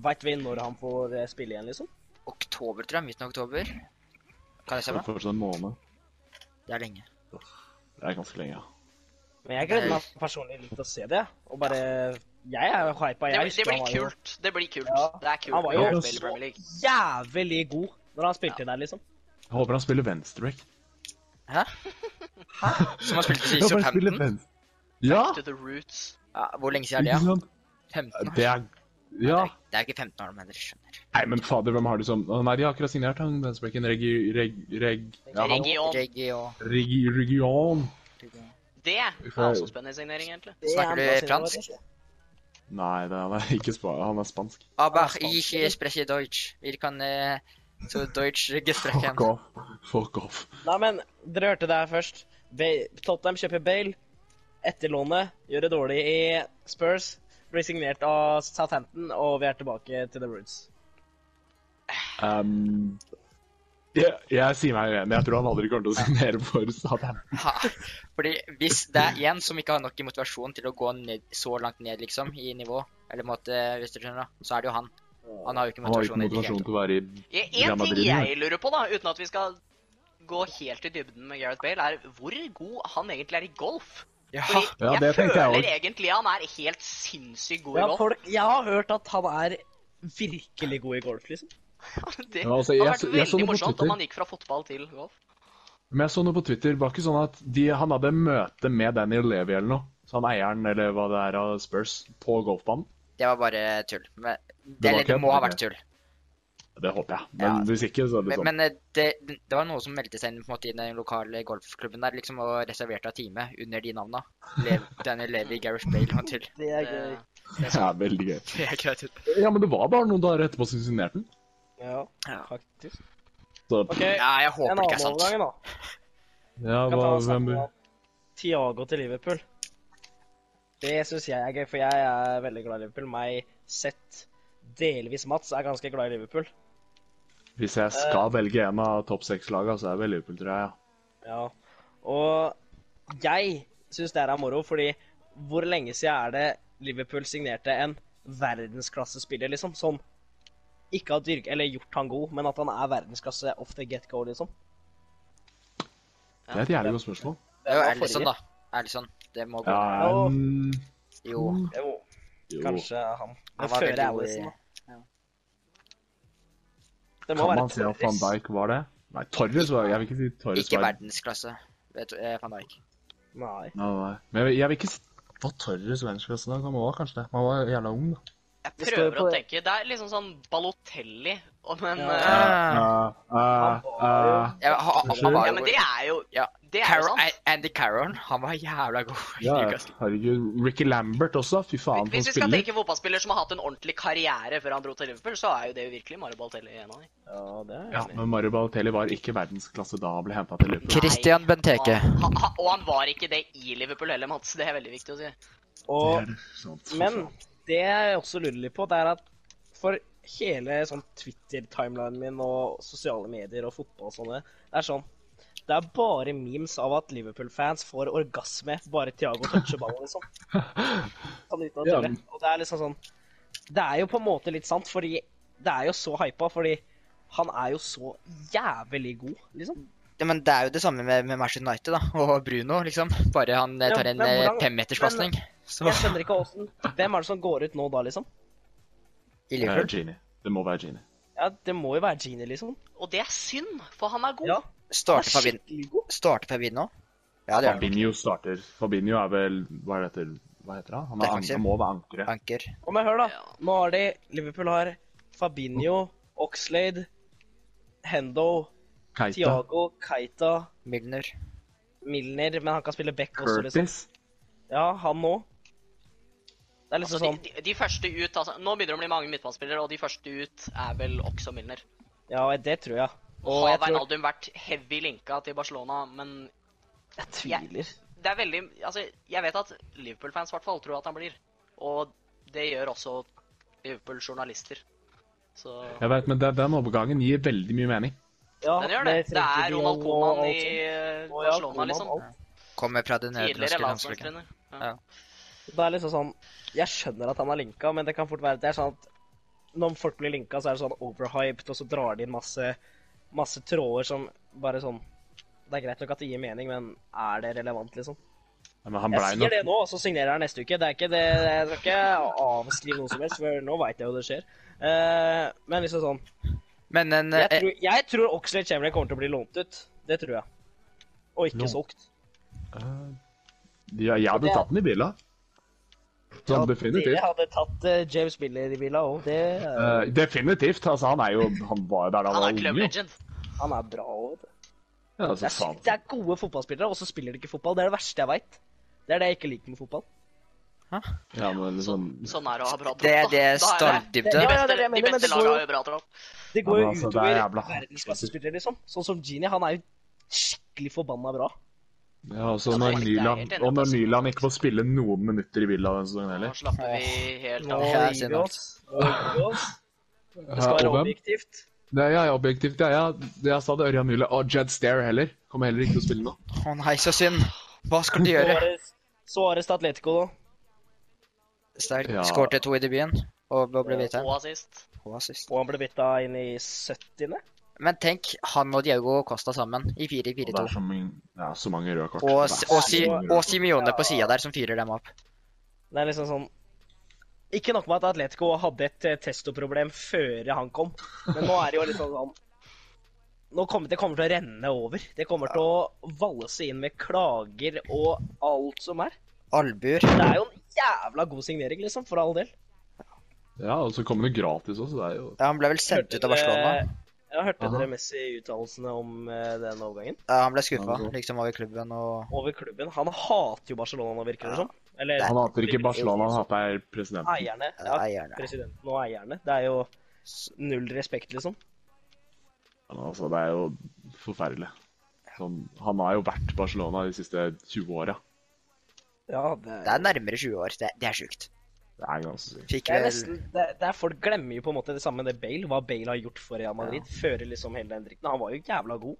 Speaker 1: Veit vi når han får eh, spille igjen, liksom?
Speaker 3: Oktober, tror jeg. Midten av oktober. Kan jeg se
Speaker 2: Det er
Speaker 3: meg?
Speaker 2: fortsatt en måned.
Speaker 3: Det er lenge.
Speaker 2: Det er ganske lenge, ja.
Speaker 1: Men jeg gleder meg personlig litt til å se det. jeg. Og bare Jeg er jo hypa. Jeg
Speaker 4: det, blir- det
Speaker 1: husker han
Speaker 4: blir
Speaker 1: var jo
Speaker 4: kult. Det blir kult.
Speaker 1: Ja.
Speaker 4: Det er kult.
Speaker 1: Han var
Speaker 4: med
Speaker 1: jo
Speaker 4: Gareth Bale i
Speaker 1: så-
Speaker 4: Premier League.
Speaker 1: jævlig god når han spilte der, liksom.
Speaker 2: Jeg håper han spiller venstreback.
Speaker 3: Som har spilt i
Speaker 2: <laughs> Ja, bare spiller
Speaker 3: 15.
Speaker 2: venstre- Ja!
Speaker 4: To the roots.
Speaker 3: Ja, hvor lenge siden
Speaker 2: Ikke
Speaker 3: er det?
Speaker 2: sant?
Speaker 3: Ja? 15 år?
Speaker 2: Det er Ja.
Speaker 3: Det er- Det er ikke 15 år, men dere skjønner.
Speaker 2: Nei, men fader, hvem har de som Å, Nei, de har akkurat signert han venstrebacken Regi... Reg... Reg... Ja, han...
Speaker 4: Region.
Speaker 3: Reggie og
Speaker 2: Regi... Region.
Speaker 4: Det er også en spennende signering, egentlig.
Speaker 3: Snakker du
Speaker 1: Det er en bra
Speaker 3: fransk?
Speaker 1: signering,
Speaker 2: Nei, det er, han er ikke spa... Han er spansk.
Speaker 3: Aber ich spreche Deutsch. Wir kann eh, so
Speaker 2: <laughs>
Speaker 3: Deutsch gesprochen.
Speaker 2: Fuck off. Fuck off.
Speaker 1: altså. Nei, men dere hørte det her først. Ba- Tottenham kjøper Bale. Etter lånet gjør det dårlig i Spurs. Blir signert av Southampton, og vi er tilbake til The Roots.
Speaker 2: Ehm, jeg, jeg sier meg uenig. Jeg tror han aldri kommer til å signere for Southampton.
Speaker 3: Ha. Fordi hvis det er én som ikke har nok i motivasjon til å gå ned, så langt ned, liksom, i nivå, eller på en måte, hvis du skjønner, da, så er det jo han. Han har jo ikke
Speaker 2: Han har jo ikke
Speaker 3: motivasjon. i det hele
Speaker 2: motivasjon til å være i
Speaker 4: Ja, En
Speaker 2: Real
Speaker 4: ting
Speaker 2: Madrid, ja.
Speaker 4: jeg lurer på, da, uten at vi skal gå helt i dybden med Gareth Bale, er hvor god han egentlig er i golf.
Speaker 3: tatt. Ja,
Speaker 4: Fordi
Speaker 2: Ja,
Speaker 4: jeg
Speaker 2: det tenkte jeg
Speaker 4: føler
Speaker 2: også.
Speaker 4: egentlig han er helt sinnssykt god i
Speaker 1: Ja,
Speaker 4: golf.
Speaker 1: folk, jeg har hørt at han er virkelig god i golf, liksom.
Speaker 4: <laughs> Det
Speaker 2: Ja, altså,
Speaker 4: hadde
Speaker 2: jeg
Speaker 4: vært
Speaker 2: så- jeg så
Speaker 4: veldig
Speaker 2: det på
Speaker 4: morsomt
Speaker 2: Twitter.
Speaker 4: om han gikk fra fotball til golf.
Speaker 2: Men jeg så noe på Twitter. Det var ikke sånn at de, han hadde møte med Daniel Levy eller noe. Så han eieren eller hva det er av Spurs på golfbanen.
Speaker 3: det var bare tull. Men, det,
Speaker 2: var
Speaker 3: eller, det
Speaker 2: kødd,
Speaker 3: må ha
Speaker 2: ok.
Speaker 3: vært tull.
Speaker 2: Det håper jeg. Men
Speaker 3: Ja.
Speaker 2: hvis ikke, så er det
Speaker 3: Men,
Speaker 2: sånn.
Speaker 3: men eh, det, det var noen som meldte seg inn på en måte i den lokale golfklubben der, liksom, og reserverte av time under de navna. Le Daniel Levy, Gareth Bale og tull.
Speaker 1: Det er gøy.
Speaker 4: Det-
Speaker 2: <laughs> Det er veldig gøy.
Speaker 3: Det er greit.
Speaker 2: Ja, men det var bare noen dager etterpå som signerte den.
Speaker 1: Ja,
Speaker 3: Ja.
Speaker 1: faktisk.
Speaker 2: Så
Speaker 1: OK,
Speaker 3: Ja, jeg håper
Speaker 1: en
Speaker 3: det
Speaker 1: annen
Speaker 3: ikke er sant.
Speaker 1: overgang, da.
Speaker 2: ja,
Speaker 1: Kan
Speaker 2: hva,
Speaker 1: ta oss
Speaker 2: hvem
Speaker 1: sammen om Thiago til Liverpool. Det syns jeg er gøy, for jeg er veldig glad i Liverpool. Meg sett delvis Mats er ganske glad i Liverpool.
Speaker 2: Hvis jeg skal velge en av topp seks-laga, så er det vel Liverpool, tror jeg. ja.
Speaker 1: Ja. Og jeg syns det her er moro, fordi hvor lenge siden er det Liverpool signerte en verdensklassespiller, liksom? Som ikke har dyrket eller gjort han god, men at han er verdensklasse off the get go, liksom.
Speaker 2: Det er et jævlig godt spørsmål.
Speaker 3: Det er jo
Speaker 1: var
Speaker 3: Alisson,
Speaker 1: forrige.
Speaker 3: da. Alisson. Det må gå.
Speaker 2: Ja,
Speaker 1: Ja.
Speaker 2: mm,
Speaker 3: Jo.
Speaker 1: Jo,
Speaker 2: jo.
Speaker 1: kanskje han.
Speaker 3: Han
Speaker 1: Men
Speaker 3: var
Speaker 1: før
Speaker 3: veldig god
Speaker 1: Allison,
Speaker 3: i-
Speaker 1: da. Det må
Speaker 2: Kan
Speaker 1: være
Speaker 2: man si at van
Speaker 1: Torres.
Speaker 2: Dijk var det? Nei, Torres var Jeg vil ikke si Torres
Speaker 3: Ikke
Speaker 2: var
Speaker 3: verdensklasse. Vet du, eh, van Dijk.
Speaker 1: Nei.
Speaker 2: Nei, nei. Men jeg vil, jeg vil ikke si Var Torres verdensklasse da? Han var kanskje det. Han var jævla ung, da.
Speaker 4: Jeg
Speaker 1: Det står jo
Speaker 4: prøver
Speaker 1: på
Speaker 4: å
Speaker 1: det.
Speaker 4: tenke. Det er liksom sånn Balotelli, og- men
Speaker 1: Ja.
Speaker 4: eh,
Speaker 3: Ah.
Speaker 2: Eh, eh, eh,
Speaker 3: Ja, han, han var
Speaker 4: Ja,
Speaker 3: jo
Speaker 4: men det er jo
Speaker 3: Ja.
Speaker 4: Det er jo
Speaker 3: Carroll,
Speaker 4: sant.
Speaker 3: Andy Carroll, han var jævla god. i
Speaker 2: ja,
Speaker 3: Newcastle.
Speaker 2: herregud. Ricky Lambert også. Fy faen, for
Speaker 4: Hvis
Speaker 2: en
Speaker 4: vi skal
Speaker 2: spiller.
Speaker 4: tenke fotballspiller som har hatt en ordentlig karriere før han dro til Liverpool, så er jo det jo virkelig Mario Balotelli en av dem.
Speaker 1: Ja, det er
Speaker 2: Ja, men Mario Balotelli var ikke verdensklasse da han ble henta til Liverpool.
Speaker 3: Christian Benteke.
Speaker 4: Han- han- han- Og han var ikke det i Liverpool heller, Mats. Det er veldig viktig å si.
Speaker 1: Og
Speaker 2: Det er sant, fy
Speaker 1: Men
Speaker 2: faen.
Speaker 1: det jeg også lurer litt på, det er at for hele sånn Twitter-timelinen min og sosiale medier og fotball og sånne, det er sånn Det er bare memes av at Liverpool-fans får orgasme bare Thiago toucher ballen, liksom. Sånn uten å
Speaker 2: Ja,
Speaker 1: tulle.
Speaker 2: men-
Speaker 1: Og det er liksom sånn Det er jo på en måte litt sant, fordi det er jo så hypa, fordi han er jo så jævlig god, liksom.
Speaker 3: Ja, men det er jo det samme med, med Manchester United da, og Bruno, liksom. Bare han eh,
Speaker 1: Ja,
Speaker 3: tar en
Speaker 1: men
Speaker 3: eh,
Speaker 1: hvordan-
Speaker 3: femmeterspasning. Så
Speaker 1: Jeg skjønner ikke åssen Hvem er det som går ut nå da, liksom?
Speaker 3: i
Speaker 2: Det er
Speaker 3: Liverpool.
Speaker 2: Genie. Det må være Genie.
Speaker 1: Ja, det må jo være Genie, liksom.
Speaker 4: Og det er synd, for han er god.
Speaker 1: Ja, han
Speaker 3: Starter
Speaker 1: er
Speaker 3: Fabin-
Speaker 1: skikkelig god.
Speaker 3: starter Fabinho? Ja, det gjør han.
Speaker 2: Fabinho starter. Fabinho er vel Hva er det etter? Hva heter han? Han er
Speaker 3: Defensiv.
Speaker 2: anker, må være ankeret.
Speaker 3: Anker.
Speaker 1: Og men hør, da.
Speaker 4: Ja.
Speaker 1: Nå har de Liverpool har Fabinho, Oxlade, Hendo,
Speaker 2: Keita.
Speaker 1: Thiago, Keita,
Speaker 3: Milner.
Speaker 1: Milner Men han kan spille back også, liksom.
Speaker 2: Curtis.
Speaker 1: Ja, han nå. Det er liksom
Speaker 4: Altså,
Speaker 1: sånn
Speaker 4: de, de, de første ut, altså, Nå begynner det å bli mange midtbanespillere, og de første ut er vel også Milner.
Speaker 1: Ja, det tror jeg.
Speaker 4: Og
Speaker 1: Og
Speaker 4: har
Speaker 1: jeg tror
Speaker 4: Wijnaldum vært heavy linka til Barcelona, men
Speaker 1: Jeg tviler.
Speaker 4: det er veldig Altså, jeg vet at Liverpool-fans i hvert fall tror at han blir. Og det gjør også Liverpool-journalister. Så
Speaker 2: Jeg vet, men den, den overgangen gir veldig mye mening.
Speaker 1: Ja,
Speaker 4: den gjør det.
Speaker 1: med
Speaker 4: Det er
Speaker 1: Frenkie
Speaker 4: Ronald
Speaker 1: de Jong og
Speaker 4: Koeman i
Speaker 1: allting.
Speaker 4: eh,
Speaker 1: Og ja,
Speaker 4: Barcelona,
Speaker 1: Koeman,
Speaker 4: liksom.
Speaker 1: alt.
Speaker 3: Kommer fra det nederlandske
Speaker 4: Tidligere
Speaker 3: landslaget.
Speaker 4: landslagstrener.
Speaker 3: Ja.
Speaker 4: Ja.
Speaker 1: Det er liksom sånn Jeg skjønner at han er linka, men det kan fort være at det er sånn at når folk blir linka, så er det sånn overhyped, og så drar de inn masse, masse tråder som bare sånn Det er greit nok at det gir mening, men er det relevant, liksom?
Speaker 2: Ja, Men han
Speaker 1: Jeg
Speaker 2: blei
Speaker 1: sier
Speaker 2: nok
Speaker 1: det nå, og så signerer jeg neste uke. Det er ikke det, Jeg skal ikke avskrive noe som helst, for nå veit jeg jo det skjer. Eh, men liksom sånn
Speaker 3: Men en
Speaker 1: Jeg
Speaker 3: eh,
Speaker 1: tror, jeg tror Oxlade Chamberlain kommer til å bli lånt ut. Det tror jeg. Og ikke
Speaker 2: Lånt.
Speaker 1: solgt.
Speaker 2: ja, Jeg hadde tatt den i bila. Sånn
Speaker 1: Dere
Speaker 2: definitivt.
Speaker 1: hadde tatt eh, James Miller i bila òg. Det eh,
Speaker 2: Eh, definitivt. Altså, han er jo Han var jo der da han
Speaker 4: Han
Speaker 2: var
Speaker 4: er
Speaker 2: ung.
Speaker 4: club
Speaker 2: jo.
Speaker 4: legend.
Speaker 2: Eh,
Speaker 1: Han er bra òg.
Speaker 2: Ja,
Speaker 1: Det
Speaker 2: altså,
Speaker 1: er,
Speaker 2: faen.
Speaker 1: sykt- det er gode fotballspillere, og så spiller de ikke fotball. Det er det verste jeg veit. Det er det jeg ikke liker med fotball.
Speaker 2: Ja, men liksom
Speaker 4: Sånn er det å ha bra
Speaker 3: det,
Speaker 4: tropp. da.
Speaker 3: det er
Speaker 4: Da er det-
Speaker 1: Ja,
Speaker 4: De
Speaker 1: ja,
Speaker 3: stardybde.
Speaker 1: det er
Speaker 4: beste,
Speaker 1: det jeg mener,
Speaker 4: de
Speaker 1: men
Speaker 4: beste
Speaker 1: det går
Speaker 4: lagene
Speaker 1: jo-
Speaker 4: har jo bra tropp.
Speaker 1: Det går
Speaker 2: Ja,
Speaker 1: jo
Speaker 2: men altså, det er jævla-
Speaker 1: utover verdensklassespillere, liksom. Sånn som Genie. Han er jo skikkelig forbanna bra.
Speaker 2: ja, altså,
Speaker 4: Ja,
Speaker 2: når
Speaker 4: det er helt
Speaker 2: Nyland,
Speaker 4: enig.
Speaker 2: og når Nyland ikke får spille noen minutter i Villa denne sesongen
Speaker 4: Nå
Speaker 2: heller
Speaker 4: slapper vi helt
Speaker 1: Nå
Speaker 4: av.
Speaker 3: Ja, jeg
Speaker 1: gir
Speaker 3: ser
Speaker 1: vi
Speaker 3: nok.
Speaker 1: oss. Nå gir vi oss. Det
Speaker 2: Eh,
Speaker 1: skal være
Speaker 2: og hvem?
Speaker 1: objektivt.
Speaker 2: Det er, ja, ja, objektivt, ja. ja. Det jeg sa det, Ørjan Myrle. Og Jed Stair heller. Kommer heller ikke til å spille nå.
Speaker 3: Å nei, så synd. Hva
Speaker 2: <laughs>
Speaker 3: skal de gjøre?
Speaker 1: Suarez- Suarez til Atletico, da.
Speaker 3: Sterk.
Speaker 2: Ja.
Speaker 3: Skårte to i debuten og ble
Speaker 4: Og
Speaker 1: Eh,
Speaker 3: bitt av.
Speaker 4: assist.
Speaker 3: Og assist.
Speaker 1: Og han ble bytta inn i 70.
Speaker 3: Men tenk, han og Diego Costa sammen i 4-4-2.
Speaker 2: så mange, ja, så mange røde kort. Det
Speaker 3: Og,
Speaker 2: er
Speaker 3: og,
Speaker 2: så
Speaker 3: si,
Speaker 2: mange røde kort.
Speaker 3: og Simione på sida der som fyrer dem opp.
Speaker 1: Det er liksom sånn Ikke nok med at Atletico hadde et eh, testoproblem før han kom, men nå er det jo liksom sånn Nå kommer det kommer til å renne over. Det kommer til å valse inn med klager og alt som er.
Speaker 3: Albuer.
Speaker 1: Det er jo en jævla god signering, liksom, for all del.
Speaker 2: Ja, og så kommer det gratis også. Det er jo
Speaker 3: Ja, han ble vel sendt ut av Barcelona.
Speaker 1: Ja, hørte
Speaker 2: Aha.
Speaker 1: dere Messi-uttalelsene om eh, den overgangen?
Speaker 3: Ja, han ble skuffa liksom over klubben og
Speaker 1: Over klubben. Han hater jo Barcelona, nå, virker det som. Eller
Speaker 2: Han hater ikke Barcelona, han hater presidenten.
Speaker 1: eierne.
Speaker 3: eh,
Speaker 1: Ja,
Speaker 3: eierne.
Speaker 1: presidenten og eierne. Det er jo null respekt, liksom.
Speaker 2: Men Altså, det er jo forferdelig. Sånn, han har jo vært Barcelona de siste 20 åra.
Speaker 1: Ja, det
Speaker 3: Det er nærmere 20 år. Det, det er sjukt.
Speaker 2: Det er ganske sykt.
Speaker 3: Fikk
Speaker 1: Det er
Speaker 3: vel
Speaker 1: nesten, det, det er Folk glemmer jo på en måte det samme med det Bale, hva Bale har gjort for Real Madrid. Fører liksom hele den dritten. Han var jo jævla god.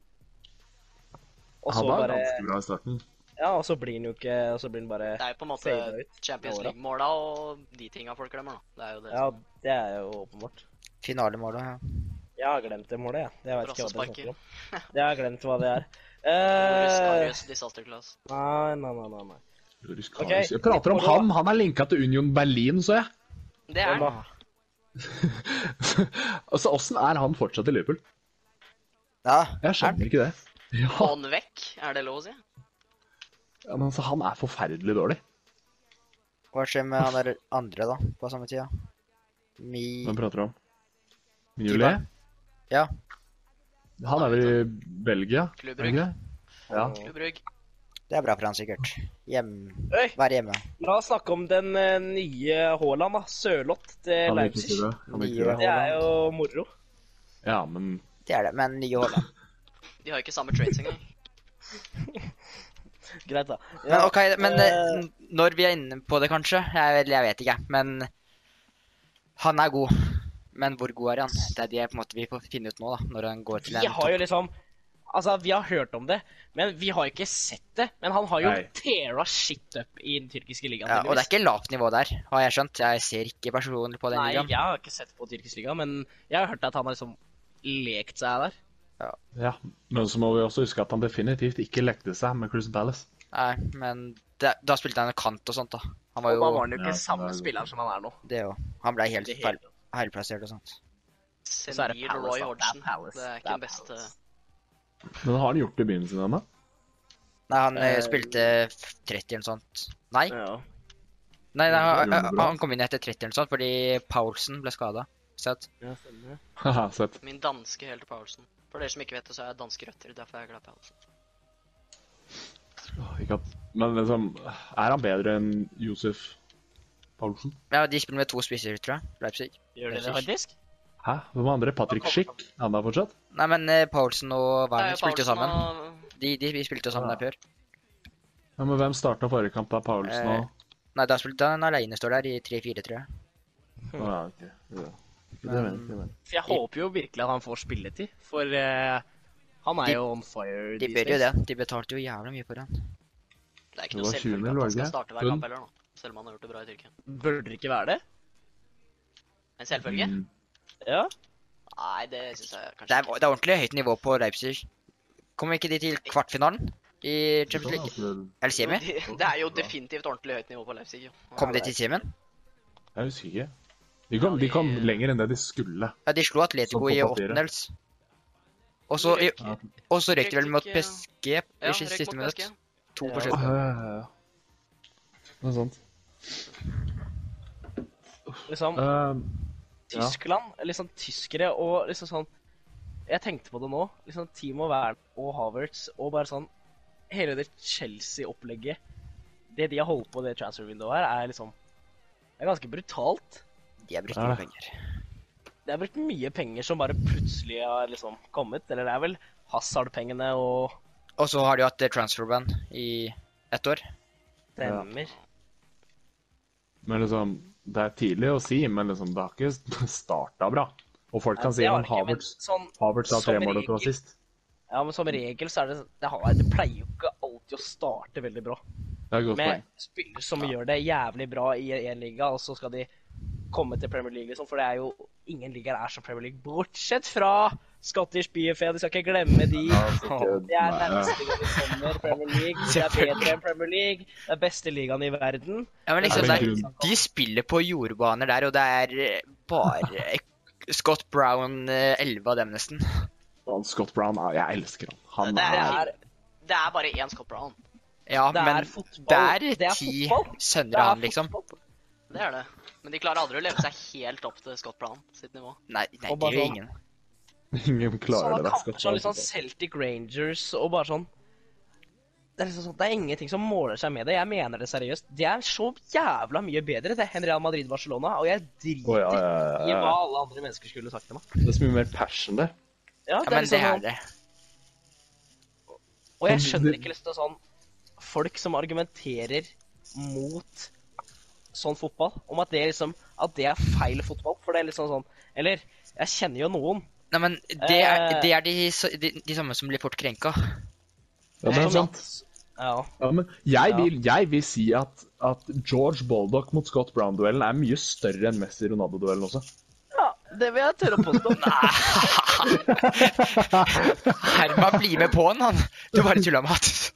Speaker 1: Og så
Speaker 2: Han var
Speaker 1: bare
Speaker 2: ganske bra i starten.
Speaker 1: Ja, og så blir han jo ikke Og så blir han bare
Speaker 4: Det er jo på en måte
Speaker 1: fada ut.
Speaker 4: Champions
Speaker 1: Ja, da.
Speaker 4: League-måla og de tinga folk glemmer, da. Det er jo det.
Speaker 1: Ja, det er jo åpenbart.
Speaker 3: finalemålet. Ja.
Speaker 1: Jeg har glemt det målet, jeg. Jeg vet ikke hva det
Speaker 4: Brassesparker.
Speaker 1: snakker om. Jeg har glemt hva det er.
Speaker 4: Boris
Speaker 1: Eh,
Speaker 4: Karius, disaster class.
Speaker 1: nei, nei, nei, nei, nei.
Speaker 2: Ruskarius.
Speaker 1: Ok.
Speaker 2: Jeg prater om han. Han er linka til Union Berlin, så jeg. <laughs>
Speaker 4: Det er den.
Speaker 1: Hvem da?
Speaker 2: altså, åssen er han fortsatt i Liverpool?
Speaker 3: ja.
Speaker 2: Jeg skjønner ikke det. Ja,
Speaker 4: Hånd vekk, er det lov å si?
Speaker 2: men altså, han er forferdelig dårlig.
Speaker 3: Hva skjer med han der andre, da, på samme tida? Mi
Speaker 2: Hvem prater du om? Julie?
Speaker 3: Ja.
Speaker 2: Han er vel i Belgia? er
Speaker 4: Klubbrygg.
Speaker 2: han ikke det? Ja.
Speaker 4: Klubbrygg.
Speaker 3: Det er bra for han sikkert. Hjem...
Speaker 1: Øy!
Speaker 3: Være hjemme.
Speaker 1: La oss snakke om den eh, nye Haaland, da. Sørloth til
Speaker 2: Han er ikke
Speaker 1: Leipzig.
Speaker 2: det. Han er ikke det.
Speaker 1: Det er jo moro.
Speaker 2: Ja, men
Speaker 3: Det er det. Men nye Haaland.
Speaker 4: De har jo ikke samme traits engang.
Speaker 1: Greit, da.
Speaker 3: Men ok, men eh,
Speaker 1: eh,
Speaker 3: n- når vi er inne på det, kanskje jeg, vet- jeg vet ikke, men Han er god. Men hvor god er han? Det er det på en måte vi får finne ut nå, da. Når han går til
Speaker 1: Vi
Speaker 3: en
Speaker 1: har jo
Speaker 3: topp.
Speaker 1: liksom Altså, vi har hørt om det, men vi har ikke sett det. Men han har jo
Speaker 2: Nei.
Speaker 1: teara shit up i den tyrkiske ligaen.
Speaker 3: Ja, og det er ikke lavt nivå der, har jeg skjønt. Jeg ser ikke personlig på den
Speaker 1: Nei,
Speaker 3: ligaen.
Speaker 1: jeg har ikke sett på tyrkisk liga, men jeg har hørt at han har liksom lekt seg der.
Speaker 2: ja. Men så må vi også huske at han definitivt ikke lekte seg med Cruise Palace.
Speaker 3: Nei, men det, da spilte han kant og sånt, da. Han
Speaker 1: Og da
Speaker 3: var jo
Speaker 1: var han jo
Speaker 2: Ja,
Speaker 1: ikke samme
Speaker 2: det er-
Speaker 1: spilleren som han er nå.
Speaker 3: det òg. Han ble helt
Speaker 1: Det er
Speaker 3: feil, feilplassert og sånt.
Speaker 1: Så er det
Speaker 4: Senil
Speaker 1: Palace,
Speaker 4: Roy
Speaker 1: da. Det
Speaker 4: Hodgson.
Speaker 1: er Palace.
Speaker 4: Det er
Speaker 1: Det
Speaker 4: ikke
Speaker 1: er
Speaker 4: den beste
Speaker 1: Palace.
Speaker 2: Men har han gjort det i begynnelsen <laughs> ennå?
Speaker 3: Nei, han eh,
Speaker 1: Eh,
Speaker 3: spilte f- 30 eller noe sånt. Nei,
Speaker 1: Ja.
Speaker 3: nei, nei han,
Speaker 2: gjorde det bra.
Speaker 3: han kom inn etter 30 eller noe sånt fordi Paulsen ble skada.
Speaker 1: Ja, stemmer det.
Speaker 2: Haha, Sett.
Speaker 4: Min danske helt Powerson. For dere som ikke vet det, så er jeg danske røtter. Derfor er jeg glad i Palace.
Speaker 2: Åh, Ikke at... Men liksom, er han bedre enn Josef Paulsen?
Speaker 3: Ja, de spiller med to spisser, tror jeg. Leipzig.
Speaker 1: Gjør
Speaker 3: Det
Speaker 1: dere
Speaker 3: er
Speaker 1: det faktisk?
Speaker 2: Hæ? Hvem andre? Patrick Schick? Er han der fortsatt?
Speaker 3: Nei, men eh, Paulsen og
Speaker 4: Det er
Speaker 3: Werner
Speaker 4: jo
Speaker 3: spilte jo
Speaker 4: Powerson
Speaker 3: sammen.
Speaker 4: og-
Speaker 3: De, de, de spilte jo sammen
Speaker 2: Ja.
Speaker 3: der før.
Speaker 2: Ja, men hvem starta forrige kamp? Da
Speaker 1: Eh,
Speaker 2: Paulsen og
Speaker 3: Nei, da spilte han aleine, står der, i 3-4, tror jeg.
Speaker 2: Å, ja, ok. Ja. Det
Speaker 3: Men-
Speaker 2: mener jeg, det mener jeg.
Speaker 1: For jeg håper jo virkelig at han får spilletid, for eh, han
Speaker 3: De-
Speaker 1: er jo on fire
Speaker 3: De bør jo det. De betalte jo jævla mye for han.
Speaker 4: Det er ikke
Speaker 2: Det
Speaker 4: noe
Speaker 2: var sjuende,
Speaker 4: selvfølgelig at han
Speaker 2: var det
Speaker 4: skal
Speaker 2: ikke?
Speaker 4: starte hver
Speaker 2: Pund.
Speaker 4: kamp heller, nå. Selv om han har gjort det bra i Tyrkia.
Speaker 1: Burde det ikke være det?
Speaker 4: En selvfølge?
Speaker 2: Mm.
Speaker 1: Ja.
Speaker 4: Nei, det syns jeg kanskje
Speaker 3: Det er, det er ordentlig høyt nivå på Leipzig. Kom ikke de til kvartfinalen i Champions League?
Speaker 2: altså,
Speaker 3: Eller semi?
Speaker 4: Jo, de- <laughs> Det er jo definitivt ordentlig høyt nivå på Leipzig. jo.
Speaker 3: Kom de til semien?
Speaker 2: Jeg husker ikke. De kom, de kom lenger enn det de skulle.
Speaker 3: Ja, de slo Atletico
Speaker 2: Som på
Speaker 3: i
Speaker 2: papiret.
Speaker 3: åttendels. Og så, i-
Speaker 2: Ja.
Speaker 3: og så røyk de vel mot
Speaker 4: Røyk ikke-
Speaker 3: PSG i
Speaker 4: Ja,
Speaker 3: siste,
Speaker 4: røyk
Speaker 3: siste
Speaker 4: mot
Speaker 3: minutt.
Speaker 4: PSG.
Speaker 3: To
Speaker 1: Ja.
Speaker 3: på slutten.
Speaker 2: Ja, ja, ja. Noe sånt.
Speaker 1: Liksom,
Speaker 2: Ehm, Ja.
Speaker 1: Tyskland, liksom tyskere og liksom sånn Jeg tenkte på det nå. liksom Timo Wern og Havertz og bare sånn Hele det Chelsea-opplegget Det de har holdt på i det transfer-vinduet her, er liksom Det er ganske brutalt.
Speaker 3: De har brukt
Speaker 2: Ja,
Speaker 3: mye
Speaker 2: det.
Speaker 3: penger.
Speaker 1: Det er brukt mye penger som bare plutselig har liksom kommet. Eller det er vel Hazard-pengene og
Speaker 3: Og så har de jo hatt eh, transferband i ett år.
Speaker 1: Stemmer.
Speaker 2: men liksom, det er tidlig å si, men liksom, det har ikke starta bra. Og folk kan
Speaker 1: Det
Speaker 2: si
Speaker 1: har
Speaker 2: om
Speaker 1: jeg ikke, men
Speaker 2: Havertz
Speaker 1: sånn,
Speaker 2: Havertz sa
Speaker 1: som
Speaker 2: tre mål og to
Speaker 1: regel-
Speaker 2: assist.
Speaker 1: ja, men som regel så er det Det, har, det pleier jo ikke alltid å starte veldig bra.
Speaker 2: Det er et godt
Speaker 1: Med
Speaker 2: poeng.
Speaker 1: spillere som gjør det jævlig bra i en liga, og så skal de komme til Premier League, liksom. For det er jo ingen ligaer er som Premier League, bortsett fra Scottish BFA. Du skal ikke glemme de. altså, Det er nærmeste gang vi kommer Premier League. Det er bedre enn Premier League. Det er beste ligaen i verden.
Speaker 3: Ja, men liksom,
Speaker 2: Det
Speaker 3: det
Speaker 2: er vel
Speaker 3: er, De spiller på jordbaner der, og det er eh, bare eh, Scott Brown eh, 11 av dem, nesten.
Speaker 2: Han Scott Brown, ja, jeg elsker han. Han
Speaker 4: Det
Speaker 2: er
Speaker 4: er, det er bare én Scott Brown.
Speaker 3: Ja,
Speaker 1: Det er
Speaker 3: men
Speaker 1: fotball.
Speaker 3: det
Speaker 1: Det er
Speaker 3: er ti
Speaker 1: fotball.
Speaker 3: sønner av han, liksom.
Speaker 1: fotball.
Speaker 4: Det er det. Men de klarer aldri å leve seg helt opp til Scott Brown sitt nivå.
Speaker 3: Nei, nei,
Speaker 1: Og
Speaker 3: det gjør
Speaker 1: bare-
Speaker 3: ingen.
Speaker 2: Ingen klarer
Speaker 1: Sånne
Speaker 2: det.
Speaker 1: kamper
Speaker 2: Scott
Speaker 1: som
Speaker 2: Brown.
Speaker 1: liksom Celtic Rangers og bare sånn det er, liksom sånn, det er ingenting som måler seg med det. Jeg mener det seriøst. Det er så jævla mye bedre det enn Real Madrid-Barcelona, og jeg driter
Speaker 2: Å, ja, ja, ja,
Speaker 1: i
Speaker 2: ja.
Speaker 1: hva alle andre mennesker skulle sagt til meg.
Speaker 2: Det er så mye mer passion der.
Speaker 1: Ja,
Speaker 3: Ja, men det er det.
Speaker 1: liksom sånn, Og jeg
Speaker 2: Men
Speaker 1: skjønner
Speaker 2: det-
Speaker 1: ikke liksom sånn folk som argumenterer mot sånn fotball, om at det liksom at det er feil fotball. For det er liksom sånn Eller jeg kjenner jo noen.
Speaker 3: Nei, men det er,
Speaker 1: Eh.
Speaker 3: det er de, så- de, de samme som blir fort krenka.
Speaker 2: Ja, det er
Speaker 1: som-
Speaker 2: sant.
Speaker 1: Ja.
Speaker 2: sånn- Ja, men jeg,
Speaker 1: Ja.
Speaker 2: vil, jeg vil si at, at George Baldock mot Scott Brown-duellen er mye større enn Messi-Ronaldo-duellen
Speaker 3: <laughs>
Speaker 2: også.
Speaker 1: ja. Det vil jeg tørre å påstå.
Speaker 3: Herman blir med på den, han. Du bare tulla med at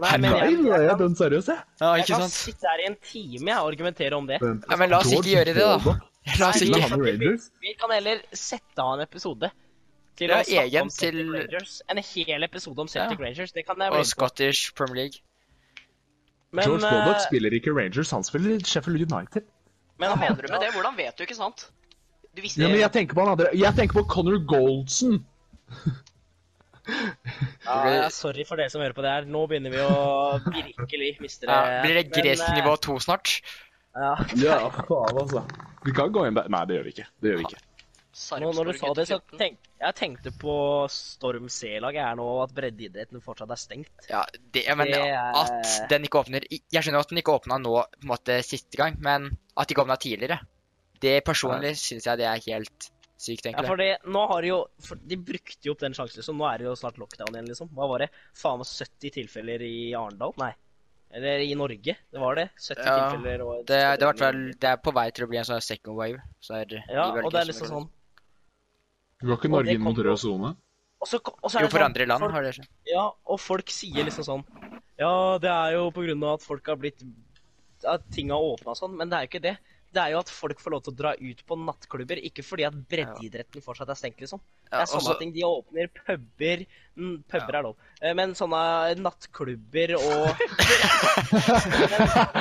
Speaker 1: Nei, men
Speaker 2: Nei,
Speaker 1: jeg,
Speaker 2: nå er
Speaker 1: jeg,
Speaker 2: jeg
Speaker 1: kan,
Speaker 2: dønn seriøs, jeg.
Speaker 3: Ja,
Speaker 1: jeg
Speaker 3: ikke
Speaker 1: kan
Speaker 3: sant?
Speaker 1: sitte her i en time jeg, og argumentere om det.
Speaker 2: Vent,
Speaker 3: Ja, men la oss ikke
Speaker 2: George
Speaker 3: gjøre det, da.
Speaker 2: Baldock
Speaker 3: La oss
Speaker 1: Nei,
Speaker 2: spiller
Speaker 3: ikke
Speaker 1: men-
Speaker 2: han i Rangers.
Speaker 1: Vi kan heller sette av en episode. Til
Speaker 3: Ja,
Speaker 1: å snakke
Speaker 3: egen
Speaker 1: om Celtic
Speaker 3: til-
Speaker 1: Rangers. En hel episode om Celtic
Speaker 3: Ja.
Speaker 1: Rangers. Det kan jeg
Speaker 3: Og
Speaker 1: bli med på.
Speaker 3: Scottish Premier League.
Speaker 1: Men,
Speaker 2: George Baldock
Speaker 1: eh,
Speaker 2: spiller ikke Rangers, han spiller i Sheffield United.
Speaker 1: men
Speaker 4: Hva
Speaker 1: han-
Speaker 4: mener du med det? Hvordan vet du, ikke sant? Du visste
Speaker 2: Ja, men jeg tenker på han andre Jeg tenker på Connor Goldson.
Speaker 1: Ja,
Speaker 3: Blir det-
Speaker 1: jeg er sorry for dere som hører på det her. Nå begynner vi å virkelig miste det.
Speaker 3: Ja, blir det
Speaker 1: Men,
Speaker 3: gresk
Speaker 1: eh,
Speaker 3: nivå to snart?
Speaker 1: Ja.
Speaker 2: Ja, faen, altså. Vi kan gå inn der Nei, det gjør vi ikke. Det gjør vi ikke.
Speaker 1: Nå, når du sa det, så
Speaker 4: tenk...
Speaker 1: tenk, jeg tenkte på Storm C-laget her nå, og at breddeidretten fortsatt er stengt.
Speaker 3: Ja, det, ja, men
Speaker 1: Det er-
Speaker 3: at den ikke åpner Jeg skjønner at den ikke åpna nå på en måte siste gang, men at de ikke åpna tidligere Det personlig syns jeg det er helt sykt,
Speaker 1: Ja,
Speaker 3: egentlig.
Speaker 1: for det, nå har de jo for De brukte jo opp den sjansen, liksom. Nå er det jo snart lockdown igjen, liksom. Hva var det? Faen meg 70 tilfeller i Arendal? Nei. Eller i Norge. Det var det. 70
Speaker 3: Ja,
Speaker 1: tilfeller og
Speaker 3: Det, det, er i hvert fall, det er på vei til å bli en sånn second wave. Så er
Speaker 1: Ja,
Speaker 3: i
Speaker 1: og
Speaker 3: bølger
Speaker 1: det er
Speaker 3: som
Speaker 1: liksom
Speaker 3: går.
Speaker 1: sånn
Speaker 2: Går ikke
Speaker 1: Og det
Speaker 2: Norge inn mot
Speaker 1: kommer-
Speaker 2: rød sone?
Speaker 1: Og så, og så er
Speaker 3: Jo,
Speaker 1: det
Speaker 3: for
Speaker 1: sånn-
Speaker 3: andre land
Speaker 1: folk-
Speaker 3: har det skjedd.
Speaker 1: Ja, og folk sier liksom sånn Ja, det er jo på grunn av at folk har blitt At ting har åpna sånn, men det er jo ikke det. Det er jo at folk får lov til å dra ut på nattklubber, ikke fordi at breddeidretten fortsatt er stengt, liksom. Det
Speaker 3: Ja, altså-
Speaker 1: er sånne
Speaker 3: også-
Speaker 1: ting. De åpner puber mm, Puber er lov. Eh, Men sånne nattklubber
Speaker 3: <laughs>
Speaker 1: og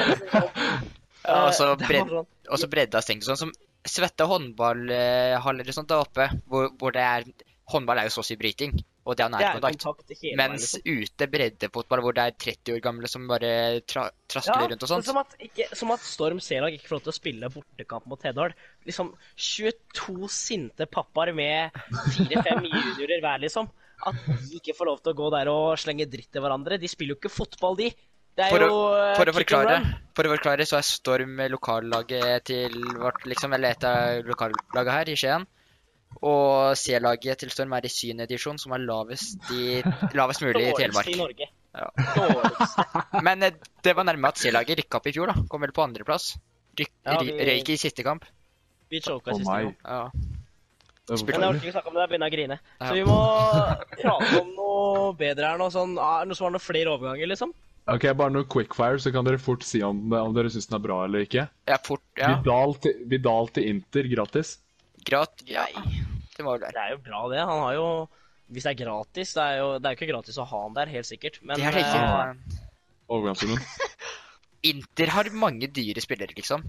Speaker 3: ja, altså, også
Speaker 1: Eh, det
Speaker 3: bredd-
Speaker 1: var sånn-
Speaker 3: og så bredda stengt og sånn. Som svette håndballhaller og sånt der oppe, hvor, hvor det er Håndball er jo så å si bryting, og det er
Speaker 1: Det er
Speaker 3: nærkontakt.
Speaker 1: kontakt hele veien. liksom.
Speaker 3: Mens ute breddefotball, hvor det er 30 år gamle som bare tra traskler rundt og
Speaker 1: men
Speaker 3: sånt.
Speaker 1: Som at, ikke, som at Storm C-lag ikke får lov til å spille bortekamp mot Hedal. Liksom 22 sinte pappaer med 4-5 juniorer hver, liksom. At de ikke får lov til å gå der og slenge dritt til hverandre. De spiller jo ikke fotball, de. Det er
Speaker 3: For å-
Speaker 1: jo eh,
Speaker 3: For å,
Speaker 1: kick and
Speaker 3: forklare,
Speaker 1: run.
Speaker 3: for å forklare, så er Storm lokallaget til vårt, liksom, eller et av lokallaget her i Skien. Og C-laget til Storm er i 7. divisjon, som er lavest, i, lavest mulig i
Speaker 1: Dårligste
Speaker 3: Telemark.
Speaker 1: i Norge.
Speaker 3: Ja.
Speaker 1: Dårligste.
Speaker 3: Men eh, det var nærme at C-laget rykka opp i fjor, da. Kom vel på andreplass. Ryk,
Speaker 1: Ja,
Speaker 3: ry-
Speaker 1: vi-
Speaker 3: Røyk i siste kamp.
Speaker 1: Vi
Speaker 2: <laughs>
Speaker 1: choka
Speaker 2: Å
Speaker 1: sist.
Speaker 2: nei.
Speaker 1: gang.
Speaker 3: Ja.
Speaker 2: Det
Speaker 1: Men jeg
Speaker 2: var
Speaker 1: orker ikke snakke om det, jeg begynner å grine. Så
Speaker 3: Ja.
Speaker 1: vi må prate om noe bedre her nå. Sånn, ah, noe som har noen flere overganger, liksom.
Speaker 2: Ok, Bare noe quickfire, så kan dere fort si om, om dere syns den er bra eller ikke.
Speaker 3: ja, fort, ja.
Speaker 2: Vidal, til, Vidal til Inter, gratis.
Speaker 3: Grat. Ja,
Speaker 4: Nei.
Speaker 3: det var vel der.
Speaker 1: Det er jo bra, det. Han har jo Hvis det er gratis Det er jo, det er jo ikke gratis å ha han der, helt sikkert. Men
Speaker 3: Det er det ikke.
Speaker 1: eh,
Speaker 2: Ah. Overgangssummen. <laughs>
Speaker 3: Inter har mange dyre spillere, liksom.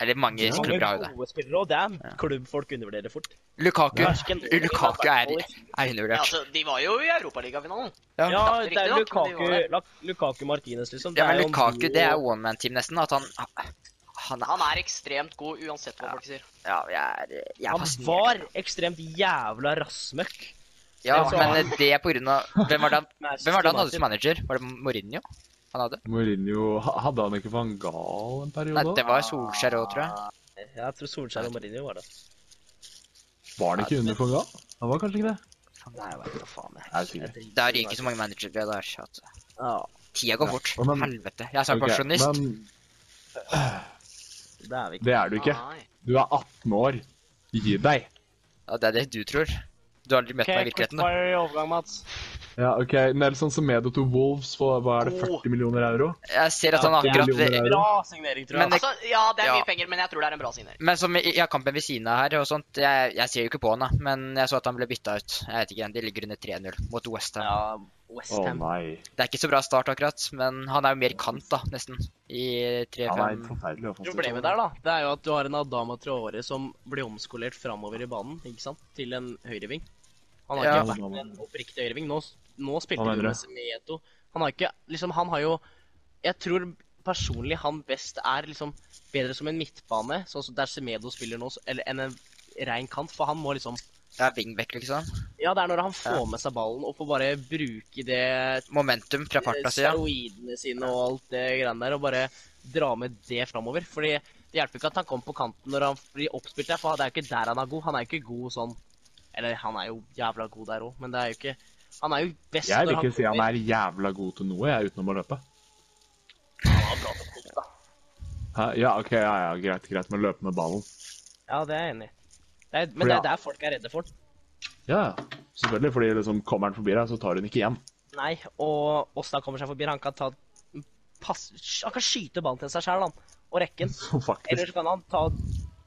Speaker 3: Eller mange
Speaker 2: Ja.
Speaker 1: mange
Speaker 3: klubber har jo det.
Speaker 1: gode spillere, og det er en klubb folk undervurderer fort.
Speaker 3: Lukaku,
Speaker 1: Fersken-
Speaker 3: Lukaku er, er
Speaker 4: Ja,
Speaker 3: undervurdert.
Speaker 4: altså, de var jo i Europaligafinalen.
Speaker 1: Ja,
Speaker 4: Tapte
Speaker 1: det er
Speaker 4: riktignok, men de
Speaker 1: Lukaku,
Speaker 4: var
Speaker 1: Lak- Lukaku Martinez, liksom.
Speaker 3: Ja, men
Speaker 1: jo en
Speaker 3: Lukaku,
Speaker 1: duo-
Speaker 3: det er one man-team nesten. At han Han er
Speaker 4: Han er ekstremt god uansett hva folk sier.
Speaker 3: Ja, jeg er, jeg er
Speaker 1: Han
Speaker 3: fascinert.
Speaker 1: var ekstremt jævla rassmøkk.
Speaker 3: Ja,
Speaker 1: altså-
Speaker 3: men det er på grunn av Hvem var det han,
Speaker 1: Manchester
Speaker 3: hvem var det han hadde
Speaker 1: United.
Speaker 3: som manager? Var det Mourinho han hadde?
Speaker 2: Mourinho ha- Hadde han ikke van Gaal en
Speaker 3: Nei,
Speaker 2: periode?
Speaker 3: det var Solskjær òg, tror jeg.
Speaker 1: Jeg tror Solskjær og Mourinho var det.
Speaker 2: Var han ikke under for gal? Han var kanskje ikke det?
Speaker 3: Faen, det er jo hva faen
Speaker 2: Nei,
Speaker 3: jeg
Speaker 2: sikkert.
Speaker 3: Det er ikke så mange managere det der. så at-
Speaker 1: Ja,
Speaker 3: Tida går
Speaker 2: Ja,
Speaker 3: fort.
Speaker 2: og men-
Speaker 3: Helvete. Jeg er snart
Speaker 2: Ok,
Speaker 3: pensjonist.
Speaker 2: Men
Speaker 1: det er vi ikke.
Speaker 2: det er du ikke.
Speaker 1: Ah.
Speaker 4: Nei.
Speaker 2: Du er 18 år. Gi deg.
Speaker 3: Ja, det er det du tror. Du har aldri møtt meg i virkeligheten. da.
Speaker 1: quickfire i overgang, Mats.
Speaker 2: Ja, ok. Nelson Semedo til Wolves for hva er det, 40 millioner euro?
Speaker 3: Jeg ser at han
Speaker 2: Ja, det er
Speaker 3: akkurat
Speaker 2: jo det.
Speaker 1: Bra signering, tror jeg.
Speaker 3: Men det-
Speaker 4: Altså, ja, det er
Speaker 3: Ja.
Speaker 4: mye penger, men jeg tror det er en bra signering.
Speaker 3: Men som i- i kampen ved siden av her og sånt, jeg, jeg ser jo ikke på han, da. Men jeg så at han ble bytta ut. Jeg vet ikke, De ligger under 3-0 mot Westham.
Speaker 1: ja,
Speaker 2: Å
Speaker 1: Westham.
Speaker 2: nei.
Speaker 3: Det er ikke så bra start akkurat, men han er jo mer kant, da, nesten. I 3-5.
Speaker 2: Han er forferdelig offensiv.
Speaker 1: Problemet der, da, det er jo at du har en Adama Traore som blir omskolert framover i banen, ikke sant? Til en høyreving. Han har
Speaker 3: Ja.
Speaker 1: ikke vært en oppriktig høyreving. Nå, nå spilte
Speaker 2: Hva
Speaker 1: du
Speaker 2: mener
Speaker 1: med
Speaker 2: du?
Speaker 1: Semedo. Han har ikke Liksom, han har jo Jeg tror personlig han best er liksom bedre som en midtbane, sånn som der Semedo spiller nå, så- eller enn en rein kant, for han må liksom
Speaker 3: Det er wingback, liksom.
Speaker 1: Ja, det er når han får med seg ballen og får bare bruke det
Speaker 3: Momentum fra farta si. ja.
Speaker 1: steroidene sine og alt det greiene der, og bare dra med det framover. Fordi det hjelper ikke at han kommer på kanten når han blir oppspilt der, for det er jo ikke der han er god. Han er jo ikke god sånn Eller han er jo jævla god der òg, men det er jo ikke Han er jo best
Speaker 2: Jeg vil
Speaker 1: når
Speaker 2: ikke si han
Speaker 1: kommer-
Speaker 2: er jævla god til noe, jeg, utenom å løpe. Hæ? Ja, OK, ja, ja, greit, greit, men løpe med ballen.
Speaker 1: Ja, det er jeg enig i. Det er- Men
Speaker 2: Fordi
Speaker 1: det er
Speaker 2: han-
Speaker 1: der folk er redde for den.
Speaker 2: Ja, ja. Selvfølgelig, fordi liksom kommer han forbi deg, så tar hun ikke igjen. <laughs>
Speaker 1: Nei, og Åsta kommer seg forbi. Han kan ta pass, Han kan skyte ballen til seg sjæl, han. Og rekken.
Speaker 2: Så
Speaker 1: Eller
Speaker 2: faktisk.
Speaker 1: så kan han ta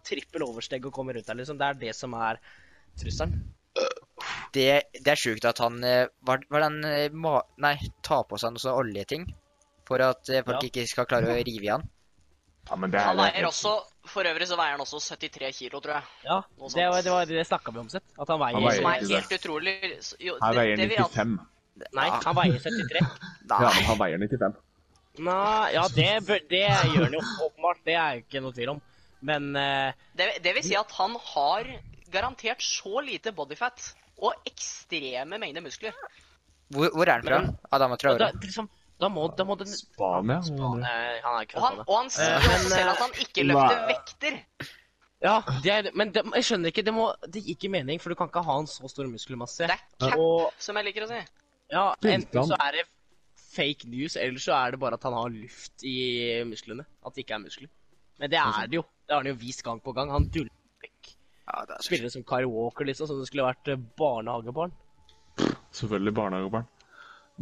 Speaker 1: trippel oversteg og komme rundt der, liksom. Det er det som er trusselen.
Speaker 3: Det, det er sjukt at han eh, Var, var den eh, ma... Nei, tar på seg noe sånn oljeting. For at eh, folk
Speaker 1: Ja.
Speaker 3: ikke skal klare å rive i han.
Speaker 2: Ja, men det er
Speaker 4: Han veier også For øvrig så veier han også 73 kilo, tror jeg.
Speaker 1: Ja,
Speaker 4: Noe
Speaker 1: det,
Speaker 4: sånt.
Speaker 1: var- det, var- det snakka vi om sett. At han veier,
Speaker 2: Han veier
Speaker 4: Som er
Speaker 2: ikke det.
Speaker 4: helt utrolig. Så- Jo,
Speaker 2: Her
Speaker 4: det-
Speaker 2: veier
Speaker 4: det
Speaker 2: han
Speaker 4: vi alt-
Speaker 2: 95.
Speaker 1: Nei, han veier 73.
Speaker 2: Ja,
Speaker 3: Nei.
Speaker 2: men han veier 95.
Speaker 1: Nei, ja, det, bør, det gjør han jo åpenbart. Det er jo ikke noe tvil om. Men eh,
Speaker 4: Det, det vil si at han har garantert så lite bodyfat og ekstreme mengder muskler.
Speaker 3: Hvor, hvor er han fra?
Speaker 1: Men-
Speaker 3: Adama
Speaker 1: da,
Speaker 3: Traore?
Speaker 1: liksom, da må, da må den
Speaker 2: Spania? hva
Speaker 1: Spa-
Speaker 2: mener du?
Speaker 1: Nei, han er ikke
Speaker 4: Og han,
Speaker 1: fra Spania.
Speaker 4: og han sier
Speaker 1: Eh,
Speaker 4: også
Speaker 1: men,
Speaker 4: selv
Speaker 1: eh,
Speaker 4: at han ikke løfter
Speaker 2: nei.
Speaker 4: vekter.
Speaker 1: Ja, det er, men det, jeg skjønner ikke. Det, må, det gir ikke mening, for du kan ikke ha en så stor muskelmasse.
Speaker 4: Det er cap,
Speaker 1: Og
Speaker 4: som jeg liker å si.
Speaker 1: ja,
Speaker 2: Spilte
Speaker 1: enten
Speaker 2: han?
Speaker 1: så er det fake news, eller så er det bare at han har luft i musklene. At det ikke er muskler. Men det er det jo. Det har han jo vist gang på gang. Han duller vekk
Speaker 3: Ja, det er så sjukt.
Speaker 1: spillere som Kyle Walker, liksom, som det skulle vært eh, barnehagebarn.
Speaker 2: Selvfølgelig barnehagebarn.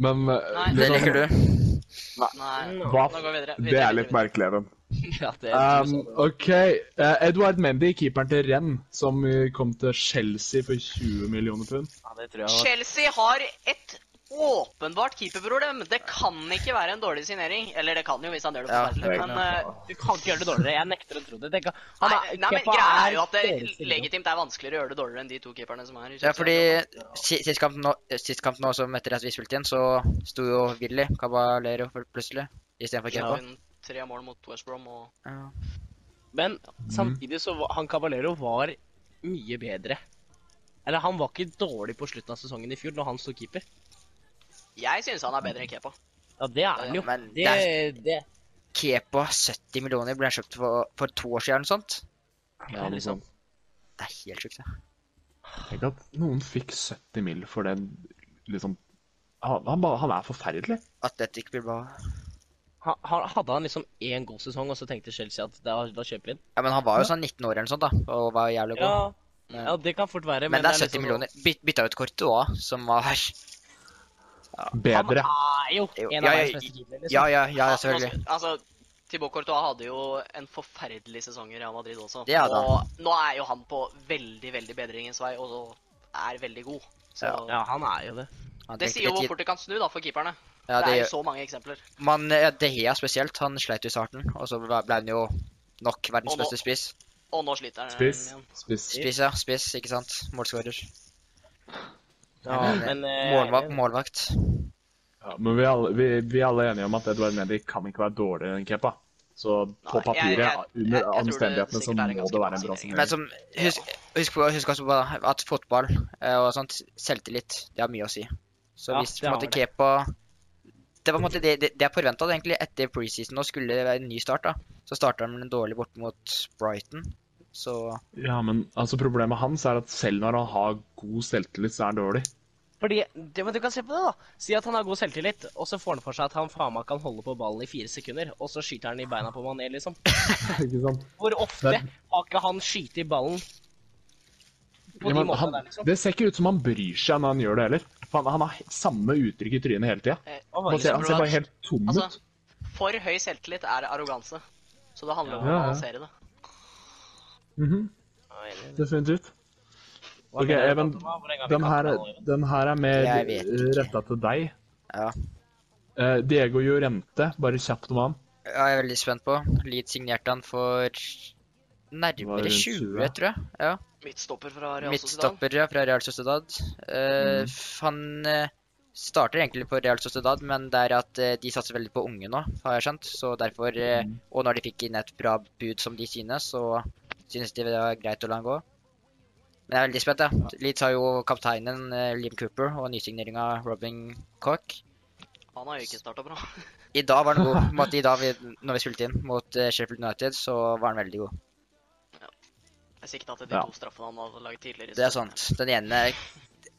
Speaker 2: Men eh,
Speaker 4: Nei,
Speaker 3: Det
Speaker 2: liksom,
Speaker 3: liker du.
Speaker 4: Nei,
Speaker 3: Mm.
Speaker 4: nå
Speaker 2: hva
Speaker 4: går vi videre.
Speaker 2: f- Det er litt merkelig, Even.
Speaker 1: <laughs> Ja, det er
Speaker 2: Um, OK. eh, Edward Mendy, keeperen til Renn, som eh, kom til Chelsea for 20 millioner pund.
Speaker 1: ja, det tror jeg var
Speaker 4: Chelsea har et åpenbart keeperproblem. Det kan ikke være en dårlig signering. Eller det kan jo, hvis han gjør det
Speaker 3: Ja,
Speaker 4: forferdelig.
Speaker 2: det-
Speaker 4: Men eh,
Speaker 1: Du kan ikke gjøre det dårligere. Jeg nekter å tro det. det kan...
Speaker 4: nei, nei, men
Speaker 1: Kepa
Speaker 4: greia er jo at
Speaker 1: dårlig
Speaker 4: det
Speaker 1: spiller.
Speaker 4: legitimt er vanskeligere å gjøre det dårligere enn de to keeperne som er i
Speaker 3: Ja,
Speaker 4: Chelsea.
Speaker 3: fordi si- sist kamp nå, eh, sist kamp nå som etter at vi spilte inn, så sto jo Willy Caballero pl- plutselig istedenfor
Speaker 4: Ja,
Speaker 3: Kepa.
Speaker 4: hun- Tre mål mot West Brom og
Speaker 3: Ja.
Speaker 1: Men
Speaker 3: Mhm.
Speaker 1: samtidig så var han Cavalero var mye bedre. Eller han var ikke dårlig på slutten av sesongen i fjor, når han sto keeper.
Speaker 4: Jeg syns han er bedre enn Kepa.
Speaker 1: Ja, det er han jo.
Speaker 3: men
Speaker 1: Det, det,
Speaker 3: Kepa 70 millioner ble han kjøpt for, for to år siden eller noe sånt.
Speaker 1: det er liksom
Speaker 3: Det er helt sjukt, det.
Speaker 2: Tenk at noen fikk 70 mil for den liksom Han, han, ba- han er forferdelig.
Speaker 3: Atletic Bilbao.
Speaker 1: han, han- Hadde han liksom én god sesong, og så tenkte Chelsea at da, da kjøper vi den?
Speaker 3: Ja, men han var jo sånn 19 år eller noe sånt, da, og var jævlig god.
Speaker 1: Ja,
Speaker 3: Ja.
Speaker 1: ja, det kan fort være.
Speaker 3: men, det er 70
Speaker 1: liksom-
Speaker 3: millioner. Byt, bytta ut Courtois, som var
Speaker 2: Bedre.
Speaker 1: Han er jo en
Speaker 3: Ja,
Speaker 1: av
Speaker 3: ja,
Speaker 1: verdens beste keepere. Liksom.
Speaker 3: Ja, ja, ja,
Speaker 4: Ja,
Speaker 3: selvfølgelig.
Speaker 4: nå skal- Altså, Thibaut Courtois hadde jo en forferdelig sesong i Real Madrid også.
Speaker 3: Det hadde han.
Speaker 4: og nå er jo han på veldig, veldig bedringens vei, og er veldig god. Så
Speaker 1: Ja, han er jo det.
Speaker 3: Han
Speaker 4: det
Speaker 3: trengte
Speaker 4: sier jo
Speaker 3: litt
Speaker 4: hvor
Speaker 3: tid.
Speaker 4: fort det kan snu da, for keeperne.
Speaker 3: Ja,
Speaker 4: det,
Speaker 3: det
Speaker 4: er jo så
Speaker 3: gjør
Speaker 4: mange eksempler.
Speaker 3: Man, ja, De Hea spesielt, han sleit jo i starten, og så ble ble han jo nok verdens
Speaker 4: Og nå-
Speaker 3: beste spiss.
Speaker 4: Og nå sliter han
Speaker 2: Spiss.
Speaker 4: igjen.
Speaker 2: Spiss.
Speaker 3: Spiss, ja. Spiss, ikke sant. Målskårer.
Speaker 1: Ja, men, eh,
Speaker 3: Målvakt. målvakt.
Speaker 2: Ja, men vi er, alle, vi, vi er alle enige om at Edvard Mendy kan ikke være dårligere enn Kepa. Så på
Speaker 4: jeg-
Speaker 2: papiret,
Speaker 4: jeg- jeg-
Speaker 2: under
Speaker 4: jeg tror det
Speaker 2: omstendighetene, så
Speaker 4: sikkert er
Speaker 2: må
Speaker 4: en ganske
Speaker 2: det være en
Speaker 4: bra
Speaker 2: bra
Speaker 1: Mm.
Speaker 2: signering.
Speaker 4: signering.
Speaker 3: Men som, husk, husk, på- husk også på at fotball eh, og sånt, selvtillit, det har mye å si. Så
Speaker 1: Ja,
Speaker 3: hvis
Speaker 1: det
Speaker 3: på en måte
Speaker 1: har det.
Speaker 3: Kepa Det var på en måte det, det, det jeg forventa egentlig etter preseason. Nå skulle det være en ny start, da. Så starta han dårlig bort mot Brighton. Så
Speaker 2: Ja, men altså problemet hans er at selv når han har god selvtillit, så er han dårlig. <laughs>
Speaker 1: Fordi, det, men du kan se på det, da. Si at han har god selvtillit, og så får han for seg at han faen meg kan holde på ballen i fire sekunder, og så skyter han i beina på Mané, liksom.
Speaker 2: Ikke sant?
Speaker 1: Hvor ofte
Speaker 2: Men-
Speaker 1: har ikke han skutt i ballen? På
Speaker 2: Ja,
Speaker 1: de
Speaker 2: men
Speaker 1: måtene
Speaker 2: han,
Speaker 1: der, liksom.
Speaker 2: det ser ikke ut som han bryr seg når han gjør det heller. For Han, han har he- samme uttrykk i trynet hele tida.
Speaker 4: Eh,
Speaker 1: Han var
Speaker 2: Han, ser- han ser bare helt tom ut.
Speaker 4: Altså, for høy selvtillit er arroganse. Så det handler
Speaker 2: Ja,
Speaker 4: om å
Speaker 2: ja.
Speaker 4: balansere det.
Speaker 2: Mhm,
Speaker 1: liksom-
Speaker 2: Definitivt.
Speaker 1: Hva
Speaker 2: Ok,
Speaker 1: mener du,
Speaker 2: Even,
Speaker 1: Fatima? Hvor lenge har vi
Speaker 2: Den
Speaker 1: ikke hatt
Speaker 2: her,
Speaker 1: den allerede?
Speaker 2: den her er
Speaker 3: Jeg
Speaker 2: mer
Speaker 3: vet ikke.
Speaker 2: retta til deg.
Speaker 3: Ja.
Speaker 2: Eh, Diego Llorente, bare kjapt om han.
Speaker 3: ja, jeg er veldig spent på. Leeds signerte han for
Speaker 2: Var
Speaker 3: nærmere
Speaker 2: rundt
Speaker 3: 20,
Speaker 2: 20.
Speaker 3: tror jeg. Ja.
Speaker 4: Midtstopper fra Real Sociedad. Mm.
Speaker 3: Midtstopper ja, fra Real Sociedad. Eh, f- Han eh, starter egentlig på Real Sociedad, men det er at eh, de satser veldig på unge nå, har jeg skjønt. Så derfor, eh,
Speaker 4: Mm.
Speaker 3: Og når de fikk inn et bra bud som de synes, så synes de det var greit å la han gå. Men jeg er veldig spent. Ja. Leeds har jo kapteinen eh, Liam Cooper og nysigneringa Robin Cock.
Speaker 4: Han har jo ikke starta bra.
Speaker 3: I dag var
Speaker 4: <laughs>
Speaker 3: han god. på en måte, I dag vi, når vi spilte inn mot eh, Sheffield United, så var han veldig god.
Speaker 4: Jeg sikta til de
Speaker 2: Ja.
Speaker 4: to straffene han hadde laget tidligere. i
Speaker 3: Det er sånn.
Speaker 4: sesongen.
Speaker 3: sant. Den ene,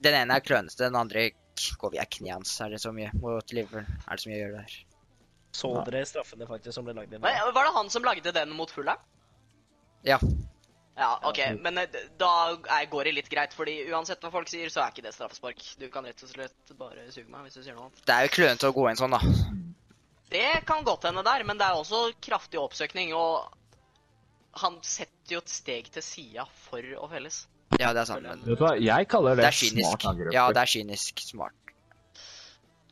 Speaker 3: den ene er klønete, den andre k- går via kneet hans. Er det så mye mot Liverpool? Er det så mye å gjøre der?
Speaker 1: Så dere straffene faktisk som ble lagd inn?
Speaker 4: Nei, altså, var det han som lagde den mot Fulham?
Speaker 3: Ja.
Speaker 4: Ja, OK,
Speaker 1: Mm.
Speaker 4: men eh, d- da er, går det litt greit, fordi uansett hva folk sier, så er ikke det straffespark. Du kan rett og slett bare suge meg hvis du sier noe annet.
Speaker 3: Det er jo klønete å gå inn sånn, da.
Speaker 4: Det kan godt hende der, men det er også kraftig oppsøkning, og han setter jo et steg til sida for å felles.
Speaker 3: Ja, det er sant, men
Speaker 2: Vet du hva, Jeg kaller
Speaker 3: det
Speaker 2: det,
Speaker 3: er
Speaker 2: smart
Speaker 3: kynisk.
Speaker 2: angrep.
Speaker 3: Ja, det er kynisk smart.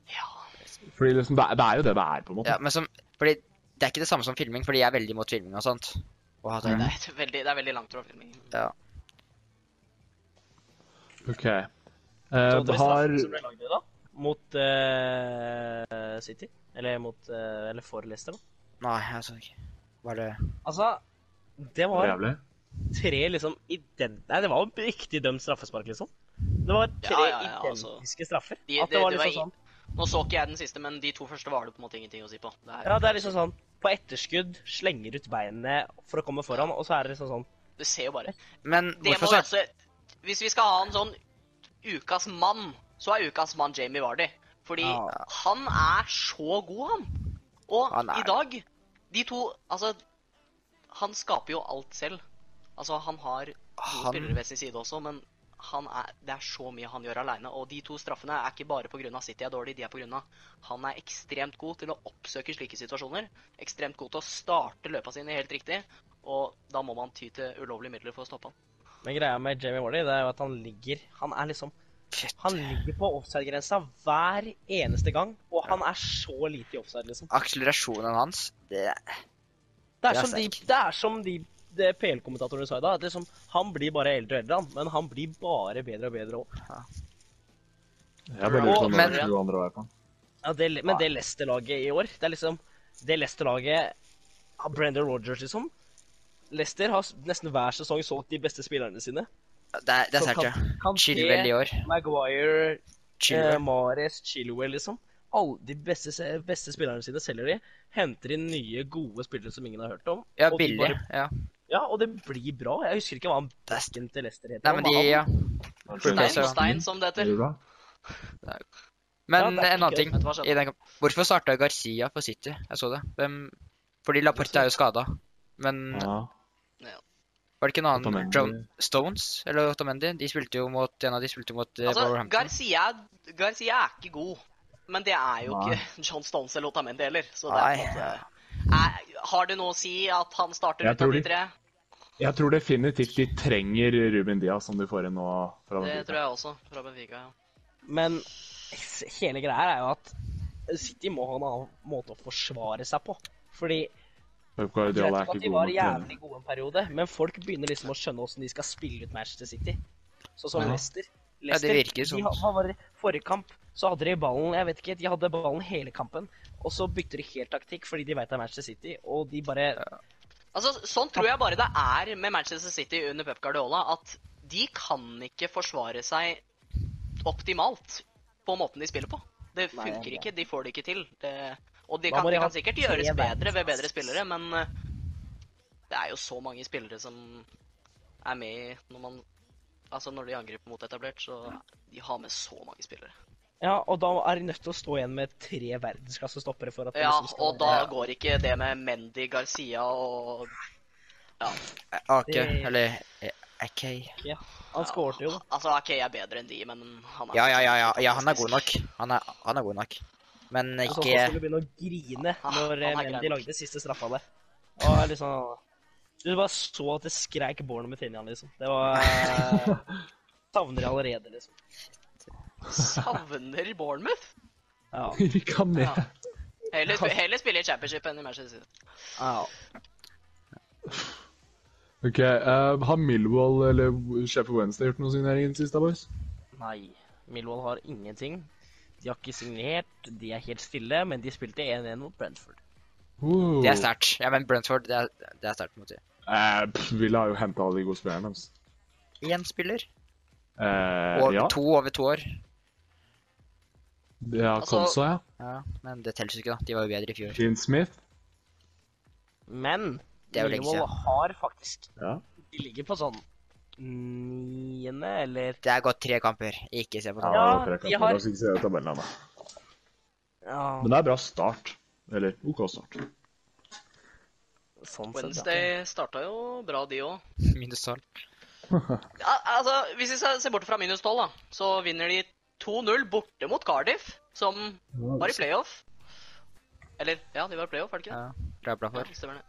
Speaker 4: Ja.
Speaker 2: Fordi liksom, det, er, det er jo det det er, på en måte.
Speaker 3: Ja, men som Fordi det er ikke det samme som filming, fordi jeg er veldig imot filming og sånt. Og hater
Speaker 4: Det
Speaker 3: det.
Speaker 4: er, et veldig, det er veldig langt fra filming.
Speaker 3: Ja.
Speaker 2: Ok. Eh,
Speaker 1: Så dere
Speaker 2: har
Speaker 1: straffene som ble lagd i dag? Mot eh, City? Eller, mot, eh, eller for Leicester, da?
Speaker 3: Nei, jeg så ikke. Var det
Speaker 1: Altså, det
Speaker 2: Hvor
Speaker 1: var
Speaker 2: jævlig?
Speaker 1: tre liksom ident... Nei, det var jo riktig dømt straffespark, liksom. Det var tre
Speaker 4: Ja, ja, ja, altså.
Speaker 1: identiske straffer.
Speaker 4: De-
Speaker 1: At det var
Speaker 4: det- det
Speaker 1: liksom
Speaker 4: var i-
Speaker 1: sånn
Speaker 4: Nå så ikke jeg den siste, men de to første var det på en måte ingenting å si på. Det, er,
Speaker 1: Ja, det er liksom sånn På etterskudd slenger ut beinet for å komme foran, og så er det liksom sånn
Speaker 4: du ser jo bare.
Speaker 3: Men
Speaker 4: Det må
Speaker 3: hvorfor
Speaker 4: vi
Speaker 3: start...
Speaker 4: også, hvis vi skal ha en sånn ukas mann, så er ukas mann Jamie Vardy. Fordi
Speaker 1: Ja.
Speaker 4: han er så god, han. Og
Speaker 3: Han er
Speaker 4: i
Speaker 3: det.
Speaker 4: dag De to Altså, han skaper jo alt selv. Altså, han har gode
Speaker 3: Han-
Speaker 4: spillere ved sin side også, men han er, det er så mye han gjør aleine. Og de to straffene er ikke bare pga. City er dårlig, de er pga. Han er ekstremt god til å oppsøke slike situasjoner. Ekstremt god til å starte løpa sine helt riktig. Og da må man ty til ulovlige midler for å stoppe han.
Speaker 1: Men greia med Jamie Wardy, det er jo at han ligger Han er liksom
Speaker 3: Shit.
Speaker 1: Han ligger på offside-grensa hver eneste gang, og han er så lite i offside, liksom.
Speaker 3: Akselerasjonen hans det...
Speaker 1: Det er
Speaker 3: Det er
Speaker 1: som de, det er som de det PL-kommentatorene sa i dag. at Liksom, han blir bare eldre og eldre, han, men han blir bare bedre og bedre òg.
Speaker 2: Jeg bare lurer på om
Speaker 3: Men-
Speaker 2: det er noe andre vei på.
Speaker 1: Ja, det- men det Leicester-laget i år Det er liksom Det Leicester-laget av Brendan Rogers, liksom. Leicester har s- nesten hver sesong solgt de beste spillerne sine.
Speaker 3: Det er, det er
Speaker 1: Så
Speaker 3: sært, ja.
Speaker 1: Kan
Speaker 3: Chilwell i år.
Speaker 1: Maguire, Eh,
Speaker 3: Chilwell.
Speaker 1: Mares, Chilwell, liksom. Alle de beste, se- beste spillerne sine selger de. Henter inn nye, gode spillere som ingen har hørt om.
Speaker 3: Ja,
Speaker 1: og de
Speaker 3: billig.
Speaker 1: bare-
Speaker 3: Ja.
Speaker 1: ja, og det blir bra. Jeg husker ikke hva han backen til Leicester het.
Speaker 3: Nei, men de Ja.
Speaker 4: Stein,
Speaker 3: så-
Speaker 4: stein, som det
Speaker 2: Er
Speaker 4: heter.
Speaker 2: det bra?
Speaker 3: Men
Speaker 1: Ja, det er
Speaker 3: en annen
Speaker 1: ikke
Speaker 3: ting
Speaker 4: Vet du hva skjedde?
Speaker 3: i den kampen. Hvorfor starta Garcia på City? Jeg så det. Hvem Fordi Laporte er jo skada. Men
Speaker 2: Ja.
Speaker 3: var det ikke en annen
Speaker 2: Otamendi.
Speaker 3: John Stones eller Otamendi? De spilte jo mot en av de spilte mot eh,
Speaker 4: Altså,
Speaker 3: Wolverhampton.
Speaker 4: Garcia, Garcia er ikke god, men det er jo
Speaker 2: Nei.
Speaker 4: ikke John Stones eller Otamendi heller. Så det
Speaker 3: Nei.
Speaker 4: er på en måte er, Har det noe å si at han starter
Speaker 2: Jeg
Speaker 4: ut av
Speaker 2: tror
Speaker 4: de
Speaker 2: de-
Speaker 4: tre?
Speaker 2: Jeg tror definitivt de trenger Ruben Diaz, som de får inn nå. Fra
Speaker 4: Det
Speaker 2: den
Speaker 4: tror jeg også, fra Benfica. ja.
Speaker 1: Men s- hele greia her er jo at City må ha en annen måte å forsvare seg på. Fordi
Speaker 2: Pep
Speaker 1: greit
Speaker 2: Guardiola er
Speaker 1: nok at
Speaker 2: ikke
Speaker 1: de
Speaker 2: god
Speaker 1: var
Speaker 2: nok trener.
Speaker 1: jævlig gode en periode, men folk begynner liksom å skjønne åssen de skal spille ut Manchester City. Sånn som
Speaker 2: Ja.
Speaker 1: Leicester.
Speaker 3: Ja, det
Speaker 1: Leicester,
Speaker 3: virker sånn.
Speaker 1: De, ha- hva var det, forrige kamp så hadde de ballen jeg vet ikke, de hadde ballen hele kampen, og så bytter de helt taktikk fordi de veit det er Manchester City, og de bare
Speaker 4: Altså, sånn tror jeg bare det er med Manchester City under Pep Guardiola, at de kan ikke forsvare seg optimalt på måten de spiller på. Det
Speaker 1: Nei, jeg er
Speaker 4: funker
Speaker 1: enig.
Speaker 4: ikke, de får det ikke til. Det, og de
Speaker 1: Da
Speaker 4: kan,
Speaker 1: må de
Speaker 4: de
Speaker 1: ha
Speaker 4: kan sikkert
Speaker 1: tre
Speaker 4: gjøres bedre ved
Speaker 1: verdens-
Speaker 4: bedre spillere, men eh, det er jo så mange spillere som er med i når man Altså, når de angriper mot etablert, så De har med så mange spillere.
Speaker 1: Ja, og da er de nødt til å stå igjen med tre verdensklassestoppere for at det
Speaker 4: Ja,
Speaker 1: liksom skal
Speaker 4: og da går ikke det med Mendy, Garcia og
Speaker 3: AK,
Speaker 1: Det-
Speaker 3: eller eh, AK.
Speaker 1: Han skårte jo, da.
Speaker 4: Altså, OK, jeg er bedre enn de, men han er
Speaker 3: Ja, ja, ja, ja, ja han er god nok. Han er, han er god nok. Men
Speaker 1: Så han
Speaker 3: ikke
Speaker 1: skulle begynne å grine
Speaker 4: Ah,
Speaker 1: når eh,
Speaker 4: han er grei
Speaker 1: Mendy
Speaker 4: nok.
Speaker 1: lagde siste straffa der. Og liksom Du bare så at det skreik Born med Tinian, liksom. Det var <laughs> Savner jeg allerede, liksom.
Speaker 4: Savner Bournemouth?
Speaker 1: Ja.
Speaker 2: <laughs> Rykka
Speaker 4: Ja.
Speaker 2: ned.
Speaker 4: Heller, sp heller spille i championship enn i Manchester City.
Speaker 1: ja.
Speaker 2: Ok, eh, Har Millwall eller Sheffield Wednesday gjort noen signeringer i det siste, boys?
Speaker 1: Nei. Millwall har ingenting. De har ikke signert, de er helt stille, men de spilte 1-1 mot Brentford.
Speaker 2: Wow.
Speaker 3: Det er sterkt. Ja, men Brentford, det er, det er sterkt. på en måte.
Speaker 2: Eh, pff, Villa har jo henta alle de gode spillerne deres.
Speaker 3: Én spiller.
Speaker 2: Eh,
Speaker 3: Og
Speaker 2: ja.
Speaker 3: to over to år.
Speaker 2: ja,
Speaker 3: Altså-
Speaker 2: Konsa, ja.
Speaker 3: Ja, men det teller jo ikke, da. De var jo bedre i fjor.
Speaker 2: Dean Smith.
Speaker 1: Men
Speaker 3: Det er jo lenge
Speaker 1: Millwall har faktisk
Speaker 2: Ja.
Speaker 1: De ligger på sånn niende, eller
Speaker 3: Det er gått tre kamper. Ikke se på
Speaker 1: Ja,
Speaker 3: tallene.
Speaker 2: for jeg kan
Speaker 1: de
Speaker 2: ikke-
Speaker 1: har-
Speaker 2: jeg skal ikke se tabellen ennå.
Speaker 1: Ja,
Speaker 2: Men det er bra start. Eller OK start.
Speaker 1: sånn sett. ja.
Speaker 4: Wednesday starta jo bra, de òg.
Speaker 3: Minus tolv.
Speaker 4: Ja, altså, hvis vi skal se bort fra minus 12, da, så vinner de 2-0 borte mot Cardiff, som var i playoff. Eller, ja, de var i playoff, var det ikke det?
Speaker 3: Ja, det er jeg glad
Speaker 4: Ja,
Speaker 3: for.
Speaker 4: det stemmer det.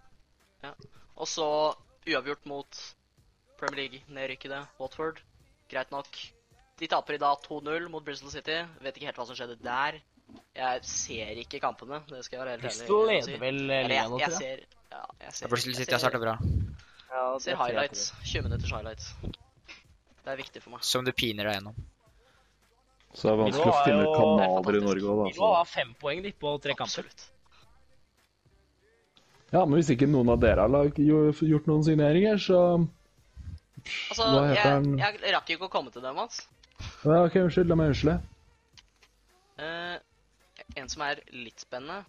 Speaker 4: Ja. Og så uavgjort mot Premier League, nedrykkede Watford. Greit nok. De taper i dag 2-0 mot Bristol City. Vet ikke helt hva som skjedde der. Jeg ser ikke kampene, det skal jeg være helt ærlig
Speaker 1: Bristol
Speaker 4: og
Speaker 1: leder vel eh,
Speaker 4: Eller,
Speaker 1: ligaen
Speaker 4: jeg,
Speaker 1: nå,
Speaker 4: jeg
Speaker 1: tror jeg.
Speaker 4: ser ja, jeg ser,
Speaker 3: Ja, Bristol City
Speaker 4: jeg
Speaker 3: har
Speaker 4: ser,
Speaker 3: starta bra.
Speaker 1: Ja, det
Speaker 4: ser
Speaker 1: tror jeg
Speaker 4: highlights. 20 minutters highlights. Det er viktig for meg.
Speaker 3: Som du piner deg gjennom.
Speaker 2: Så det er vanskelig
Speaker 1: Millwall
Speaker 2: å
Speaker 1: er
Speaker 2: finne
Speaker 1: jo-
Speaker 2: kanaler i
Speaker 4: det er
Speaker 2: Norge òg, da.
Speaker 1: Vi må
Speaker 2: så-
Speaker 1: ha fem poeng litt på tre kamper.
Speaker 4: Absolutt.
Speaker 2: Ja, men hvis ikke noen av dere har lag- jo- gjort noen signeringer, så
Speaker 4: Altså,
Speaker 2: Hva heter
Speaker 4: jeg,
Speaker 2: den?
Speaker 4: jeg rakk jo ikke å komme til dem, Mats.
Speaker 2: ja, OK, unnskyld. La meg unnskylde.
Speaker 4: Eh, en som er litt spennende,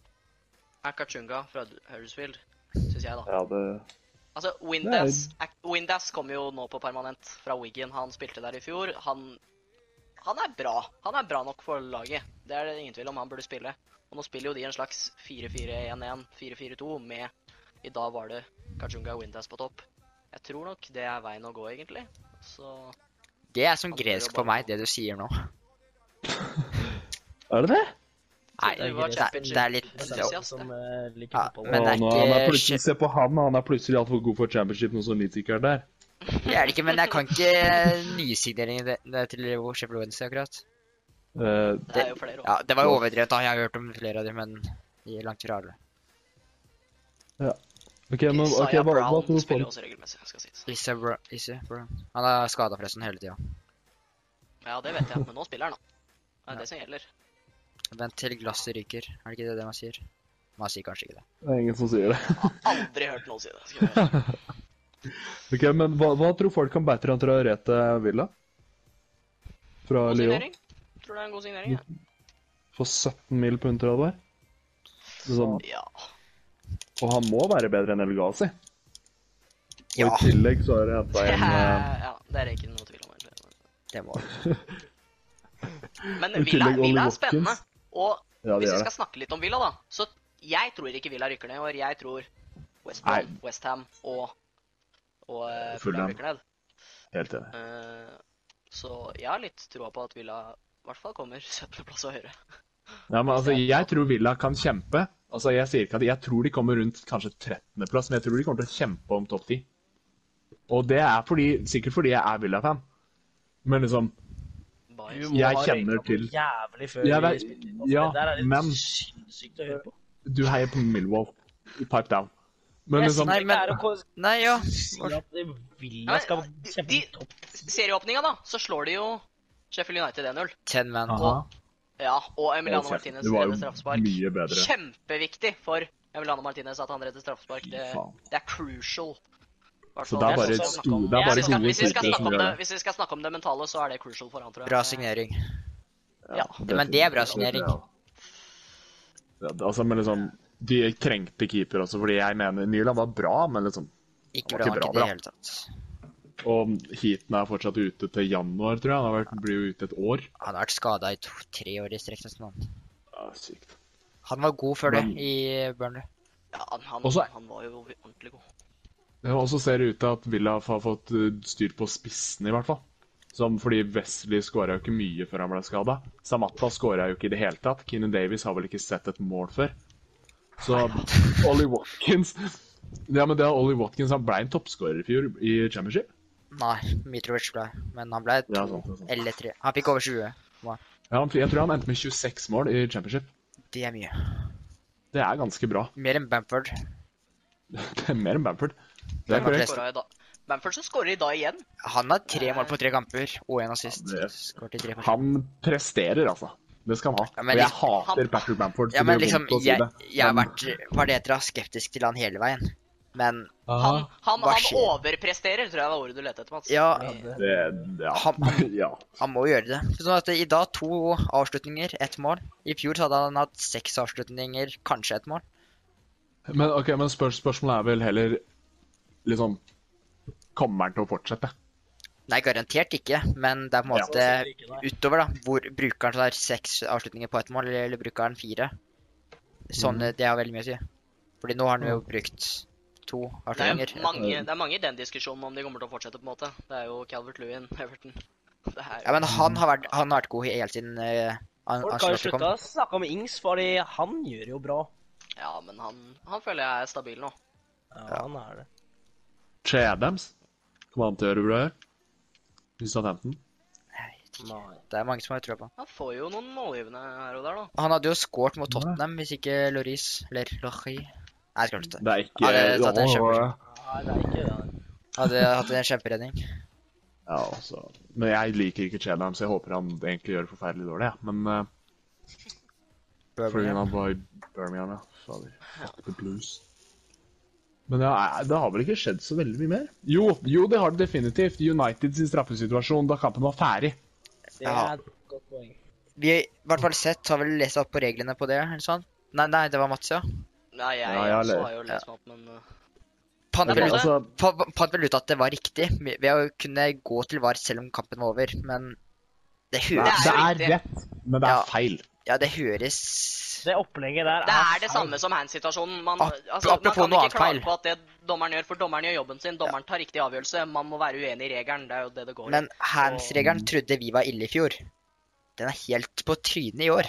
Speaker 4: er Kachunga fra Huddersfield, syns jeg, da.
Speaker 2: Ja, det
Speaker 4: Altså, Windass, Ak- Windass kom jo nå på permanent fra Wigan. Han spilte der i fjor. Han, han er bra. Han er bra nok for laget. Det er det ingen tvil om. Han burde spille. Og nå spiller jo de en slags 4-4-1-1, 4-4-2 med I dag var det Kachunga og Windass på topp. Jeg tror nok det er veien å gå, egentlig. Så
Speaker 3: Det er som gresk for meg, det du sier nå.
Speaker 2: Er det det?
Speaker 3: Nei,
Speaker 1: Det er
Speaker 3: det er, det er litt
Speaker 1: Det er
Speaker 4: Ja.
Speaker 1: sånn som eh, liker
Speaker 3: Ja,
Speaker 1: fotball.
Speaker 3: men-
Speaker 2: Å,
Speaker 3: det er
Speaker 2: nå,
Speaker 3: ikke
Speaker 2: han er plutselig, se på han, han er plutselig altfor god for championship, noe som Nitzikar der.
Speaker 3: Det er det ikke, men jeg kan ikke nysigneringen det- det til Sheffield Wednesday akkurat.
Speaker 2: Eh,
Speaker 4: det er jo flere
Speaker 3: Ja, det var jo overdrevet, da. Jeg har hørt om flere av dem, men de er langt fra alle.
Speaker 2: OK, nå, ok,
Speaker 4: Isaiah
Speaker 2: hva, hva
Speaker 4: Brown
Speaker 2: tror du
Speaker 4: spiller
Speaker 2: på?
Speaker 4: jo også regelmessig, skal sies.
Speaker 3: Issa bro, Issa bro. Han er skada forresten hele tida.
Speaker 4: Ja, det vet jeg, men nå spiller han, da. Det er det som gjelder.
Speaker 3: Vent til glasset ryker. Er det ikke det, det man sier? Man sier kanskje ikke det.
Speaker 2: Det er ingen som sier det. <laughs>
Speaker 4: Aldri hørt noen si det. skal jeg være.
Speaker 2: Ok, men hva, hva tror folk kan bære han til å rete Villa? Fra
Speaker 4: God
Speaker 2: Lyon?
Speaker 4: signering. Tror det er en god signering, jeg.
Speaker 2: For 17 mil på 130 der? Det er sånn,
Speaker 4: Ja.
Speaker 2: og han må være bedre enn El Ghazi. Og
Speaker 3: Ja,
Speaker 2: i tillegg så har jeg
Speaker 4: <laughs>
Speaker 2: henta en eh,
Speaker 4: ja. Det er det ikke noe tvil om, egentlig.
Speaker 3: det må du.
Speaker 4: Men
Speaker 2: I
Speaker 4: Villa,
Speaker 2: tillegg Ollie
Speaker 4: Villa er
Speaker 2: Watkins.
Speaker 4: spennende. Og
Speaker 2: Ja, det
Speaker 4: hvis vi
Speaker 2: er det.
Speaker 4: skal snakke litt om Villa, da, så jeg tror ikke Villa rykker ned i år. Jeg tror West Brom, West Ham og, og eh,
Speaker 2: Fulham.
Speaker 4: Fulham rykker ned.
Speaker 2: Helt enig.
Speaker 4: Eh, Så jeg har litt troa på at Villa i hvert fall kommer 17.-plass og høyere.
Speaker 2: Ja, men altså, jeg tror Villa kan kjempe. Altså, Jeg sier ikke at jeg tror de kommer rundt kanskje 13.-plass, men jeg tror de kommer til å kjempe om topp 10. Og det er fordi, sikkert fordi jeg er Villa-fan. Men liksom
Speaker 1: Du
Speaker 4: Bayern.
Speaker 1: må
Speaker 2: Jeg
Speaker 1: ha
Speaker 2: kjenner
Speaker 1: røyka
Speaker 2: til-
Speaker 1: noe jævlig før
Speaker 2: Jeg
Speaker 1: vi
Speaker 2: vet-
Speaker 1: spilte inn, altså.
Speaker 2: ja,
Speaker 1: Det der er
Speaker 2: men-
Speaker 1: litt sinnssykt å høre på.
Speaker 2: Du heier på Millwall. Pipe down. Men
Speaker 1: Jeg
Speaker 2: liksom
Speaker 1: sitter
Speaker 3: Nei, men-
Speaker 1: her og ko-
Speaker 3: Nei, ja.
Speaker 1: sier at det Villa skal kjempe
Speaker 4: de-
Speaker 1: i topp.
Speaker 4: serieåpninga, da, så slår de jo Sheffield United 1-0.
Speaker 3: Ten man.
Speaker 2: aha.
Speaker 4: Ja, og Emiliano Martinez
Speaker 2: Det var
Speaker 4: redder
Speaker 2: jo
Speaker 4: straffespark.
Speaker 2: mye bedre.
Speaker 4: Kjempeviktig for Emiliano Martinez at han redder straffespark.
Speaker 2: Fy
Speaker 4: Det,
Speaker 2: faen.
Speaker 4: det er crucial. Hvertfall
Speaker 2: Så det er bare,
Speaker 1: Det er sånn-
Speaker 2: sto, det er
Speaker 4: Hvis
Speaker 2: bare
Speaker 4: vi skal-
Speaker 2: gode
Speaker 4: hvis vi skal
Speaker 2: spillere
Speaker 4: snakke
Speaker 2: som
Speaker 4: om
Speaker 2: gjør
Speaker 4: det-
Speaker 2: det.
Speaker 4: Hvis vi skal snakke om det mentale, så er det crucial for han, tror jeg.
Speaker 3: Bra signering.
Speaker 4: Ja.
Speaker 3: Men det er bra signering.
Speaker 2: Ja, det- altså, men liksom, de trengte keeper også, fordi jeg mener Nyland var bra, men liksom
Speaker 3: Ikke
Speaker 2: Det var
Speaker 3: bra
Speaker 2: ikke bra,
Speaker 3: nok i det
Speaker 2: bra.
Speaker 3: hele tatt.
Speaker 2: Og heaten er fortsatt ute til januar, tror jeg. Han har vært, blir jo ute et år.
Speaker 3: Han har vært skada i to, tre år i strekk. nesten, han.
Speaker 2: Ja, sykt.
Speaker 3: Han var god før det
Speaker 2: Men-
Speaker 3: i Burnley.
Speaker 4: Ja, han, han,
Speaker 2: Også-
Speaker 4: han var jo ordentlig god.
Speaker 2: Ja, Og så ser det ut til at Villaf har fått eh, styr på spissen, i hvert fall. Som fordi Wesley skåra jo ikke mye før han ble skada. Samata skåra jo ikke i det hele tatt. Keenan Davies har vel ikke sett et mål før. Så <laughs> Ollie Watkins Ja, men det er Ollie Watkins. Han ble en toppskårer i fjor i Championship.
Speaker 3: Nei, Mitrovic ble Men han ble to
Speaker 2: Ja, sant, det er sant.
Speaker 3: eller tre. Han fikk over 20.
Speaker 2: Ja, han, jeg tror han endte med 26 mål i Championship.
Speaker 3: Det er mye.
Speaker 2: Det er ganske bra. <laughs>
Speaker 3: Mer enn Bamford.
Speaker 2: Det er mer enn Bamford. Det er
Speaker 3: Hvem har
Speaker 2: korrekt.
Speaker 3: flest?
Speaker 4: Skåra i dag. Bamfordsen skårer i dag igjen.
Speaker 3: Han har tre mål på tre kamper og én assist.
Speaker 2: Ja, det-
Speaker 3: Skåret i tre forsøk.
Speaker 2: Han presterer, altså. Det skal han ha.
Speaker 3: Ja, men
Speaker 2: og jeg
Speaker 3: liksom-
Speaker 2: hater
Speaker 4: han-
Speaker 2: Patrick Bamford. så
Speaker 3: Ja, men
Speaker 2: det gjør
Speaker 3: liksom,
Speaker 2: vondt å si
Speaker 3: jeg,
Speaker 2: det.
Speaker 3: jeg har
Speaker 2: Men-
Speaker 3: vært hva det heter, da, skeptisk til han hele veien. Men
Speaker 4: Han, han,
Speaker 3: Hva
Speaker 4: han
Speaker 3: skjer?
Speaker 4: overpresterer, tror jeg var ordet du lette etter, Mats.
Speaker 3: ja,
Speaker 2: Det, ja. <laughs>
Speaker 3: Han-
Speaker 2: ja.
Speaker 3: han må jo gjøre det. Sånn at I dag to avslutninger, ett mål. I fjor så hadde han hatt seks avslutninger, kanskje ett mål.
Speaker 2: Men, ok, men spørs- spørsmålet er vel heller liksom Kommer han til å fortsette?
Speaker 3: Nei, garantert ikke, men det er på en
Speaker 2: Ja.
Speaker 3: måte utover, da. Hvor bruker han sånn her seks avslutninger på ett mål, eller, eller bruker han fire? Sånn, det har veldig mye å si. Fordi nå har han jo brukt to
Speaker 4: Det er,
Speaker 3: avslutninger.
Speaker 4: jo mange, det er mange i den diskusjonen om de kommer til å fortsette. på en måte. Det er jo Calvert Lewin, <laughs> Everton det er,
Speaker 3: Ja, men han har vært, han har vært god helt siden uh, An
Speaker 1: Folk har jo
Speaker 3: Ancelotti kom.
Speaker 1: slutta å snakke om Ings, fordi han gjør jo bra.
Speaker 4: ja, men han, han føler jeg er stabil nå.
Speaker 1: Ja, han er det.
Speaker 2: Che Adams? Kommer han til å gjøre det bra? I Southampton?
Speaker 3: Jeg vet ikke.
Speaker 1: Nei.
Speaker 3: Det er mange som har trua på han.
Speaker 4: Han får jo noen målgivende her og der, da.
Speaker 3: Han hadde jo scoret mot Tottenham hvis ikke Loris eller Lochi Nei, jeg skal ikke det.
Speaker 2: Det er ikke
Speaker 3: Ja, det- det er
Speaker 2: Åh,
Speaker 3: kjempe-
Speaker 1: Nei, det er ikke det.
Speaker 3: Hadde hatt en kjemperedning.
Speaker 2: ja, altså. Men jeg liker ikke Che Adams. Jeg håper han egentlig gjør det forferdelig dålig, jeg. Men eh, Fordi
Speaker 3: Birmingham.
Speaker 2: han var i Birmingham, ja. Fader. Fuck the blues. Men ja, nei, det har vel ikke skjedd så veldig mye mer? Jo, jo det har det definitivt. United sin straffesituasjon da kampen var ferdig.
Speaker 1: Det er et godt poeng.
Speaker 3: Vi i hvert fall sett, har vel lest opp på reglene på det, eller sånn? Nei, nei, det var Mats, ja.
Speaker 4: Nei, jeg,
Speaker 2: Ja, jeg har
Speaker 4: også
Speaker 2: le-
Speaker 4: har jo lest meg opp, men uh,
Speaker 3: Fant
Speaker 4: Ja,
Speaker 3: vel,
Speaker 4: det-
Speaker 3: ut-
Speaker 2: altså,
Speaker 3: fa- fant vel ut at det var riktig, vi- ved å kunne gå til VAR selv om kampen var over, men det
Speaker 2: det,
Speaker 3: høres
Speaker 2: det
Speaker 4: er
Speaker 2: er rett, men det
Speaker 3: Ja.
Speaker 2: er feil.
Speaker 3: Ja, det høres
Speaker 1: Det opplegget der
Speaker 4: det er
Speaker 1: feil.
Speaker 4: det samme som hands-situasjonen. Man,
Speaker 3: Ap-
Speaker 4: altså, man
Speaker 3: apropos
Speaker 4: kan
Speaker 3: noe
Speaker 4: ikke
Speaker 3: annet feil.
Speaker 4: klage på at det dommeren gjør, for dommeren gjør jobben sin. Dommeren tar riktig avgjørelse. Man må være uenig i regelen. Det er jo sånn- det det går i.
Speaker 3: Men hands-regelen trodde vi var ille i fjor. Den er helt på trynet i år.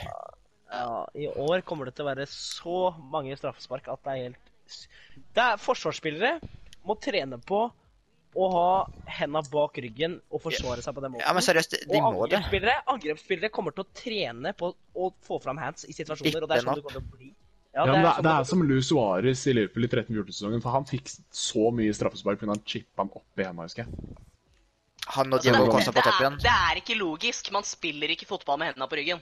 Speaker 1: Ja, I år kommer det til å være så mange straffespark at det er helt s- Det er Forsvarsspillere må trene på å ha henda bak ryggen og forsvare seg på den måten.
Speaker 3: Ja, men seriøst, de
Speaker 1: og
Speaker 3: må det.
Speaker 1: angrepsspillere, angrepsspillere kommer til å trene på å få fram hands i situasjoner, og det er
Speaker 3: Vippe
Speaker 1: sånn
Speaker 3: den
Speaker 1: det kommer til å bli.
Speaker 2: Ja, men det, er-
Speaker 1: sånn
Speaker 2: det er
Speaker 1: kommer til å-
Speaker 2: som Lou Suárez i Liverpool i 13-14-sesongen, for han fikk så mye straffespark fordi han chippa han opp i henda, husker jeg.
Speaker 3: Han og
Speaker 4: Altså,
Speaker 3: Diego
Speaker 2: det-
Speaker 3: Costa på
Speaker 4: det,
Speaker 3: topp
Speaker 4: er,
Speaker 3: igjen.
Speaker 4: det er ikke logisk. Man spiller ikke fotball med hendene på ryggen.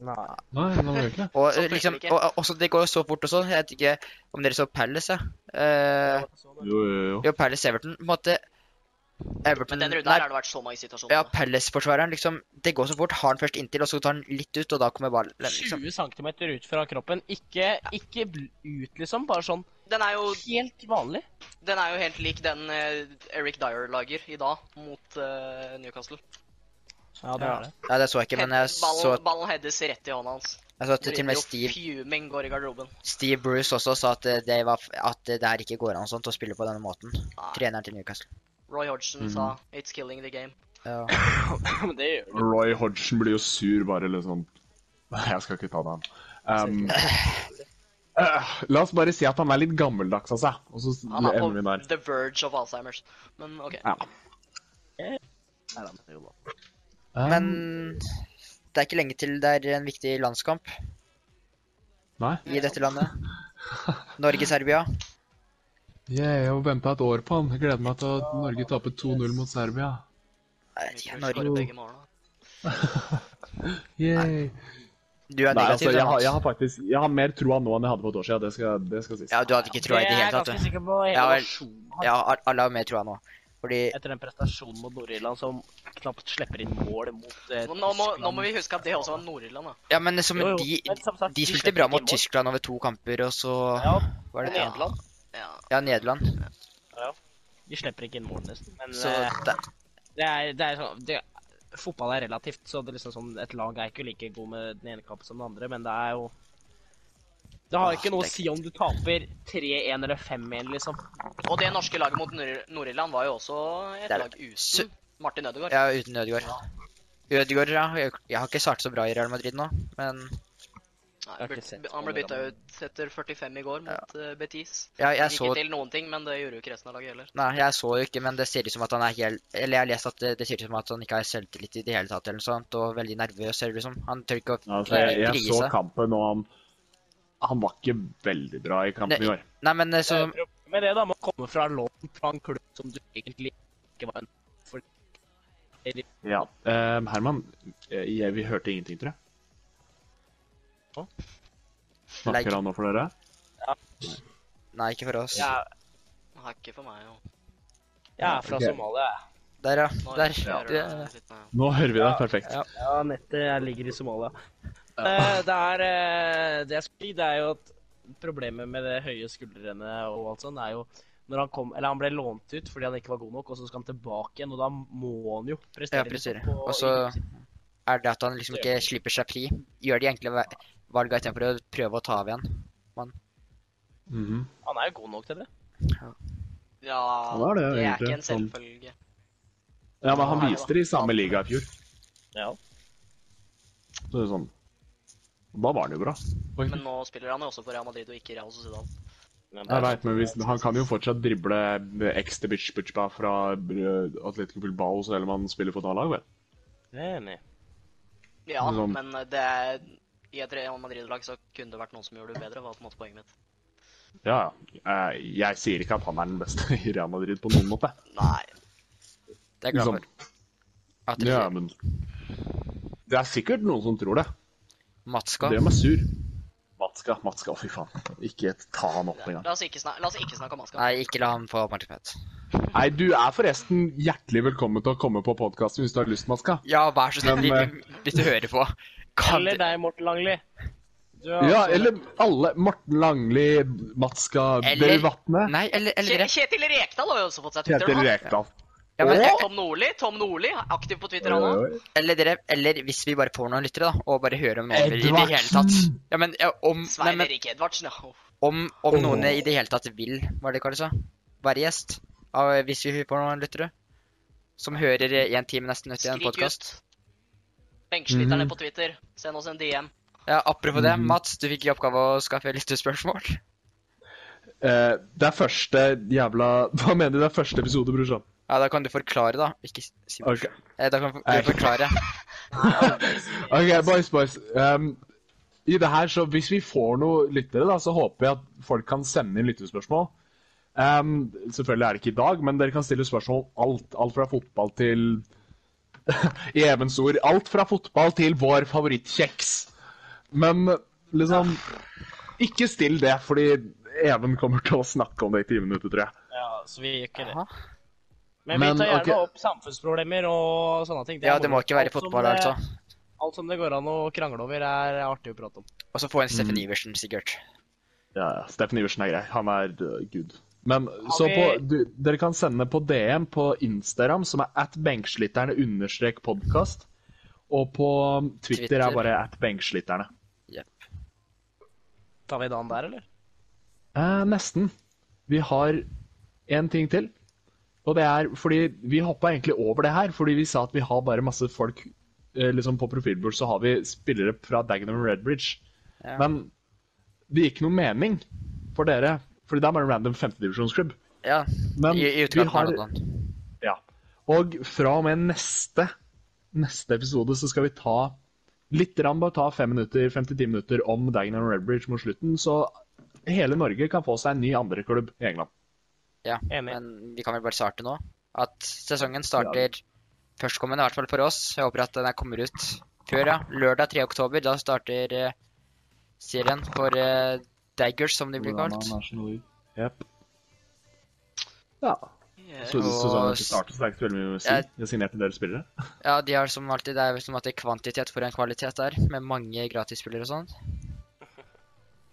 Speaker 1: Nei.
Speaker 2: Nei, han gjør ikke det.
Speaker 3: Og
Speaker 4: Sånn
Speaker 3: eh, liksom,
Speaker 4: funker det ikke.
Speaker 3: og, og- også, det går jo så fort også. Jeg vet ikke om dere så Palace, ja. Eh,
Speaker 2: Jo, jo, jo.
Speaker 3: jo, Palace Everton, på en måte. Everton
Speaker 4: Men den runden
Speaker 3: nei,
Speaker 4: her har det sånn. vært så mange situasjoner.
Speaker 3: Ja, Palace-forsvareren, liksom. Det går så fort. Har han først inntil, og så tar han litt ut, og da kommer ballen, liksom.
Speaker 1: 20 cm ut fra kroppen. Ikke, ikke bl- ut, liksom. Bare sånn
Speaker 4: Den er jo
Speaker 1: helt vanlig.
Speaker 4: Den er jo helt lik den eh, Eric Dyer lager i dag mot eh, Newcastle.
Speaker 1: Ja, det
Speaker 3: Ja.
Speaker 1: er det.
Speaker 3: Nei, det så jeg ikke, men jeg så,
Speaker 4: ballen, ballen heades rett i hånda hans.
Speaker 3: jeg så at til og med
Speaker 4: Mourinho
Speaker 3: Steve,
Speaker 4: Fuming går i garderoben.
Speaker 3: Steve Bruce også sa at eh, det, var, f- at det her ikke går an sånt å spille på denne måten.
Speaker 4: Nei.
Speaker 3: Treneren til Newcastle.
Speaker 4: Roy Hodgson sa 'It's killing the game'.
Speaker 3: Ja.
Speaker 1: <laughs> Men det gjør det.
Speaker 2: Roy Hodgson blir jo sur, bare litt sånn Nei, jeg skal ikke ta det, han. Um, <laughs> eh, la oss bare si at han er litt gammeldags av seg, og så s-
Speaker 4: Han er
Speaker 2: ender vi
Speaker 4: på
Speaker 2: der.
Speaker 4: the verge of Alzheimers. Men OK.
Speaker 2: Ja.
Speaker 1: Nei, da, men det er jo bra.
Speaker 2: Um,
Speaker 3: Men det er ikke lenge til det er en viktig landskamp
Speaker 2: Nei.
Speaker 3: i dette landet. Norge-Serbia.
Speaker 2: Jeg har venta et år på han. Jeg gleder meg til at Norge taper 2-0 mot Serbia.
Speaker 3: Jeg vet ikke,
Speaker 4: Mitrovic
Speaker 3: Norge
Speaker 4: skårer begge målene.
Speaker 2: Yay.
Speaker 3: Du er
Speaker 2: Nei, altså,
Speaker 3: negativ,
Speaker 2: jeg,
Speaker 3: da,
Speaker 2: har, jeg
Speaker 3: Mats.
Speaker 2: har faktisk Jeg har mer troa nå enn jeg hadde for et år siden. Det skal, det skal sies.
Speaker 3: Ja, du hadde ikke troa i
Speaker 1: er
Speaker 3: det
Speaker 1: jeg
Speaker 3: hele tatt,
Speaker 1: ganske
Speaker 3: du.
Speaker 1: sikker på. Hele
Speaker 3: Ja, vel.
Speaker 1: nasjonen har
Speaker 3: Ja, al- alle har mer troa nå. Fordi
Speaker 1: etter den prestasjonen mot Nord-Irland som knapt slipper inn mål mot eh,
Speaker 4: Nå, nå, må, nå må
Speaker 1: Tyskland.
Speaker 4: vi huske at det også var Nord-Irland, da.
Speaker 3: Ja, men som
Speaker 1: Jo, jo,
Speaker 3: de
Speaker 1: men som sagt,
Speaker 3: De
Speaker 1: de
Speaker 3: spilte
Speaker 1: slipper
Speaker 3: bra
Speaker 1: ikke
Speaker 3: mot
Speaker 1: inn mål.
Speaker 3: Tyskland over to kamper, og så
Speaker 1: Ja,
Speaker 3: var det
Speaker 1: og Nederland.
Speaker 4: Ja.
Speaker 3: Ja, Nederland.
Speaker 1: Ja. Vi slipper ikke inn mål, nesten. Men
Speaker 3: Så
Speaker 1: eh,
Speaker 3: det,
Speaker 1: det er, det er sånn det, Fotball er relativt, så det er liksom sånn, et lag er ikke like god med den ene kampen som den andre, men det er jo Det har
Speaker 3: Åh,
Speaker 1: ikke noe å
Speaker 3: det er
Speaker 1: si om du taper 3-1 eller 5-1, liksom.
Speaker 4: Og det norske laget mot Nor- Nord-Irland var jo også et
Speaker 3: Det er-
Speaker 4: lag
Speaker 3: Sø-
Speaker 4: uten Martin Ødegaard.
Speaker 3: ja, uten Ødegaard. Ødegaard, ja. Jeg, jeg har ikke startet så bra i Real Madrid nå, men
Speaker 4: Nei,
Speaker 1: Jeg har
Speaker 4: ble-
Speaker 1: ikke sett
Speaker 4: han ble
Speaker 1: noen
Speaker 4: bytta
Speaker 1: av dem.
Speaker 4: ut etter 45 i går mot eh, Betis.
Speaker 3: ja, jeg
Speaker 4: Gikk
Speaker 3: så
Speaker 4: ikke til noen ting, men det gjorde jo ikke resten av laget heller.
Speaker 3: Nei, jeg så jo ikke, men det ser ut som at han er helt Eller jeg har lest at det, det ser ut som at han ikke har selvtillit i det hele tatt, eller noe sånt, og veldig nervøs, ser det ut som. Han tør ikke å
Speaker 5: Altså, jeg, jeg
Speaker 3: grise.
Speaker 5: så kampen, og han, han var ikke veldig bra i kampen i år.
Speaker 3: Nei, men eh, så
Speaker 1: Så med det, da, må komme fra lån fra en klubb som du egentlig ikke var en for. Eller
Speaker 5: Ja. Eh, Herman, eh, jeg, vi hørte ingenting, tror jeg.
Speaker 1: Hå?
Speaker 5: Snakker han nå for dere?
Speaker 3: Nei, ikke for oss.
Speaker 1: jeg, er-
Speaker 4: Nei, ikke for meg, jo.
Speaker 1: jeg er fra
Speaker 2: Ok.
Speaker 1: Somalia, jeg.
Speaker 3: Der, ja.
Speaker 4: Nå
Speaker 3: Der.
Speaker 4: hører
Speaker 3: Det,
Speaker 4: du litt med-
Speaker 5: Nå hører vi deg. Perfekt.
Speaker 3: ja.
Speaker 1: Ja, nettet. Jeg ligger i Somalia. Eh, det er eh, Det jeg skulle si, det er jo at problemet med det høye skuldrene og alt sånt, er jo når han kom Eller han ble lånt ut fordi han ikke var god nok, og så skal han tilbake igjen, og da må han jo prestere.
Speaker 3: Ja, prestere.
Speaker 1: liksom, på-
Speaker 3: Og så- Er det at han liksom ikke slipper seg fri? Gjør de enkle va- valga istedenfor å prøve å ta av igjen?
Speaker 2: Mhm.
Speaker 1: Han er jo god nok til det.
Speaker 4: Ja,
Speaker 5: Han er det,
Speaker 4: det er
Speaker 5: egentlig. sånn-
Speaker 4: ikke en
Speaker 5: Han-
Speaker 4: selvfølge.
Speaker 5: Ja, men han viste det i samme liga i fjor.
Speaker 1: Ja.
Speaker 5: Så det er sånn. Da var han jo bra.
Speaker 2: Oi.
Speaker 4: Men nå spiller han jo også for Real Madrid og ikke Real Sociedal.
Speaker 5: Jeg vet, men hvis, han kan jo fortsatt drible ekstra bitch-bitch-ba fra eh, Atletico Bilbao selv om han spiller for et A-lag, vel.
Speaker 1: sånn, Enig.
Speaker 4: Ja,
Speaker 5: Sånn.
Speaker 4: men det er i et Real Madrid-lag så kunne det vært noen som gjorde det bedre, var på en måte poenget mitt.
Speaker 5: Ja, ja. Eh, Jeg sier ikke at han er den beste i Real Madrid på noen måte.
Speaker 4: Nei.
Speaker 3: Det er jeg glad
Speaker 5: Liksom.
Speaker 3: for. At det
Speaker 5: Ja,
Speaker 3: blir
Speaker 5: men Det er sikkert noen som tror det.
Speaker 3: Matska.
Speaker 5: Det gjør meg sur. Matska, Matska, fy faen. Ikke ta han opp engang.
Speaker 4: La oss ikke snakke, la oss ikke snakke om Aska.
Speaker 3: Nei, ikke la ham få oppmerksomhet.
Speaker 5: Nei, du er forresten hjertelig velkommen til å komme på podkasten hvis du har lyst, Matska.
Speaker 3: Ja, vær så snill,
Speaker 5: Men, eh,
Speaker 3: ikke- hvis du hører på. Kan
Speaker 1: Eller
Speaker 3: du
Speaker 1: deg, Morten Langli. Du er
Speaker 5: Ja,
Speaker 1: altså-
Speaker 5: eller alle. Morten Langli, Matska,
Speaker 3: Eller-
Speaker 5: Bøy Vatne.
Speaker 3: Nei, eller, eller rett.
Speaker 4: Kjetil Rekdal har jo også fått seg Twitter
Speaker 5: Kjetil
Speaker 4: nå.
Speaker 5: Rekdal.
Speaker 3: Ja, men,
Speaker 4: Og Tom Nordli. Tom Nordli er aktiv på Twitter, han òg.
Speaker 3: Eller, dere, eller hvis vi bare får noen lyttere, da, og bare hører om noen i det hele tatt.
Speaker 5: Edvardsen!
Speaker 3: Ja, men ja, om, nei,
Speaker 4: Svein
Speaker 3: men,
Speaker 4: Erik Edvardsen, ja.
Speaker 3: om, om noen i det hele tatt vil, var det ikke det du sa? Være gjest? Av, hvis vi får noen lyttere? Som hører eh, en time nesten ut i en
Speaker 4: Skrik
Speaker 3: podkast?
Speaker 4: ut.
Speaker 5: Mhm.
Speaker 4: Benkesliterne på Twitter. Send oss en DM.
Speaker 3: Ja, apropos det, Mats, du fikk i oppgave å skaffe lytterspørsmål.
Speaker 2: Eh, det er første jævla
Speaker 5: <laughs>
Speaker 2: Hva mener du det er første episode, brorsan?
Speaker 3: Ja, da kan du forklare, da. Ikke s- si
Speaker 2: Ok,
Speaker 3: eh, Da kan du forklare.
Speaker 2: Ok, boys, boys. Um, I det her, så Hvis vi får noen lyttere, da, så håper jeg at folk kan sende inn lyttespørsmål. Um, selvfølgelig er det ikke i dag, men dere kan stille spørsmål om alt. Alt fra fotball til <laughs> I Evens ord. Alt fra fotball til vår favorittkjeks. Men liksom Ikke still det, fordi Even kommer til å snakke om det i ti minutter, tror jeg.
Speaker 1: Ja, så vi gjør ikke det.
Speaker 3: Aha.
Speaker 1: Men,
Speaker 2: Men,
Speaker 1: vi tar gjerne
Speaker 2: ok.
Speaker 1: opp samfunnsproblemer og sånne ting.
Speaker 3: Ja,
Speaker 1: er
Speaker 3: det må
Speaker 1: moro.
Speaker 3: ikke være
Speaker 1: Alt som
Speaker 3: fotball,
Speaker 1: det-
Speaker 3: altså.
Speaker 1: Alt som det går an å krangle over, er artig å prate om.
Speaker 3: Og så få
Speaker 5: Mhm.
Speaker 3: en Steffen Iversen, sikkert.
Speaker 5: Ja, ja. Steffen Iversen er grei. Han er uh, gud. Men
Speaker 1: Har
Speaker 2: Så
Speaker 1: vi-
Speaker 2: på, du, dere kan sende på DM på Instagram, som er at benkslitterne understrek podkast. Og på um, Twitter,
Speaker 3: Twitter.
Speaker 2: er bare at benkslitterne.
Speaker 1: Tar vi dagen der, eller?
Speaker 2: Eh, nesten. Vi har én ting til. Og det er fordi vi hoppa egentlig over det her, fordi vi sa at vi har bare masse folk eh, liksom På profilbord så har vi spillere fra Dagenham og Redbridge.
Speaker 3: Ja.
Speaker 2: Men det gir ikke noen mening for dere, fordi det er bare en random femtedivisjonsklubb.
Speaker 3: Ja,
Speaker 2: Men
Speaker 3: i, i
Speaker 2: vi
Speaker 3: utkanten av
Speaker 2: har
Speaker 3: London.
Speaker 2: Ja. Og fra og med neste, neste episode så skal vi ta litt rann, bare ta 5 minutter, 5-10 minutter om Dagenham og Redbridge mot slutten, så hele Norge kan få seg en ny andreklubb i England.
Speaker 3: Ja,
Speaker 1: Enig.
Speaker 3: men vi kan vel bare starte nå. At sesongen starter førstkommende, i hvert fall for oss. Jeg håper at den her kommer ut før, ja. Lørdag 3. oktober, da starter eh, serien for eh, Daggers, som de blir kalt.
Speaker 2: Yep. Ja. Så
Speaker 3: Og-
Speaker 2: sesongen ikke starter, så det er ikke så veldig mye å si.
Speaker 3: Jeg-
Speaker 2: Jeg signerte en del spillere.
Speaker 3: Ja, de har som alltid, det er vel som alltid kvantitet for en kvalitet der, med mange gratisspillere og sånn.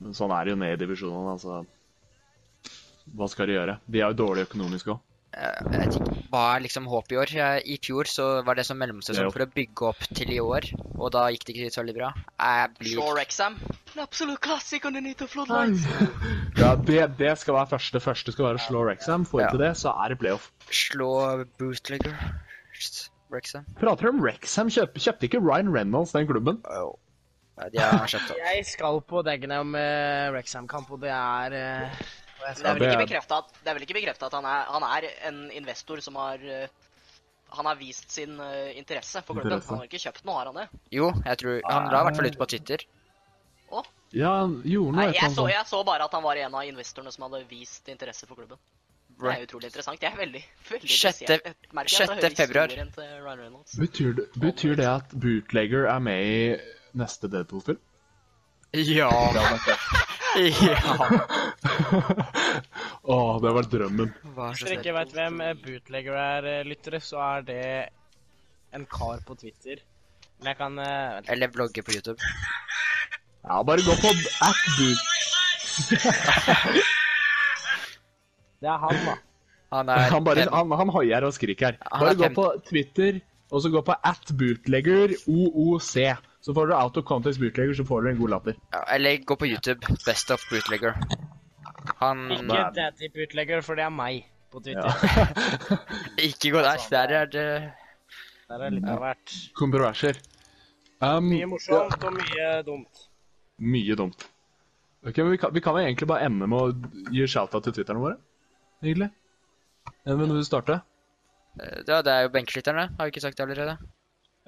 Speaker 2: Men sånn er det jo ned i divisjonene, altså. Hva skal de gjøre? De er jo dårlige økonomisk òg.
Speaker 3: eh, jeg vet ikke, Hva er liksom håpet i år? Eh, I fjor så var det som mellomsesong
Speaker 2: Ja.
Speaker 3: for å bygge opp til i år, og da gikk det ikke så veldig bra. Jeg blir
Speaker 4: Shore Exam. En absolutt klassiker under Nito Floodlights.
Speaker 2: Ja, det, det skal være første. Første skal være å slå Rexham. Får
Speaker 3: Ja.
Speaker 2: ikke det, så er det playoff.
Speaker 3: slå bootlegger. Brexham.
Speaker 2: Prater om Rexham. Kjøp, kjøpte ikke Ryan Reynolds den klubben?
Speaker 3: Ja, de har
Speaker 1: <laughs>
Speaker 3: skjønt det.
Speaker 1: Jeg skal på Dagenham uh, Rexham-kamp, og det er eh, og jeg
Speaker 4: Det er
Speaker 1: skal...
Speaker 4: vel
Speaker 2: Ja,
Speaker 4: ikke
Speaker 2: det er-
Speaker 4: bekrefta at, det er vel ikke bekreftet at han, er, han er en investor som har eh, Han har vist sin eh, interesse for klubben.
Speaker 2: Interesse.
Speaker 4: Han har ikke kjøpt noe, har han det?
Speaker 3: Jo, jeg tror Han la i hvert fall ut på Twitter.
Speaker 2: Ja, han sånn. gjorde
Speaker 4: Nei,
Speaker 2: noe et eller
Speaker 4: jeg så,
Speaker 2: annet sånt.
Speaker 4: jeg så bare at han var en av investorene som hadde vist interesse for klubben. Det er utrolig interessant. Jeg er veldig, veldig
Speaker 3: Sjette-
Speaker 4: interessert. Jeg merker at jeg
Speaker 3: sjette
Speaker 4: hører historien
Speaker 3: februar.
Speaker 4: til eh, Ryan Reynolds.
Speaker 2: Betyr, det- betyr det at Bootlegger er med i neste Deadpool-film?
Speaker 3: <laughs> Ja.
Speaker 2: <laughs>
Speaker 3: ja.
Speaker 2: Å, det var drømmen.
Speaker 3: Hva er
Speaker 1: Hvis dere
Speaker 3: det?
Speaker 1: ikke vet hvem eh, bootlegger er, eh, lyttere, så er det en kar på Twitter. Men jeg kan eh, vent.
Speaker 3: Eller vlogger på YouTube.
Speaker 2: Ja, bare gå på at boot...
Speaker 1: Det er han, da.
Speaker 3: Han er
Speaker 2: Han, bare,
Speaker 3: fem.
Speaker 2: han, han hoier og skriker.
Speaker 3: Han
Speaker 2: Bare
Speaker 3: er
Speaker 2: gå
Speaker 3: fem.
Speaker 2: på Twitter, og så gå på at bootlegger OOC. Så får du out of context bootlegger, så får du en god latter.
Speaker 3: Ja, Eller gå på YouTube. Best of bootlegger. Han
Speaker 1: Ikke daddy bootlegger, for det er meg på Twitter.
Speaker 3: Ikke gå der. Der er det
Speaker 1: Der er litt av hvert.
Speaker 2: <laughs> Kontroverser. Um,
Speaker 1: Mye morsomt og mye dumt.
Speaker 2: Mye dumt. Ok, men vi kan, vi kan jo egentlig bare ende med å gi shout-out til Twitterne våre. Egentlig. Enn vil du starte?
Speaker 3: Ja, det er jo benkeslitterne. Har vi ikke sagt det allerede?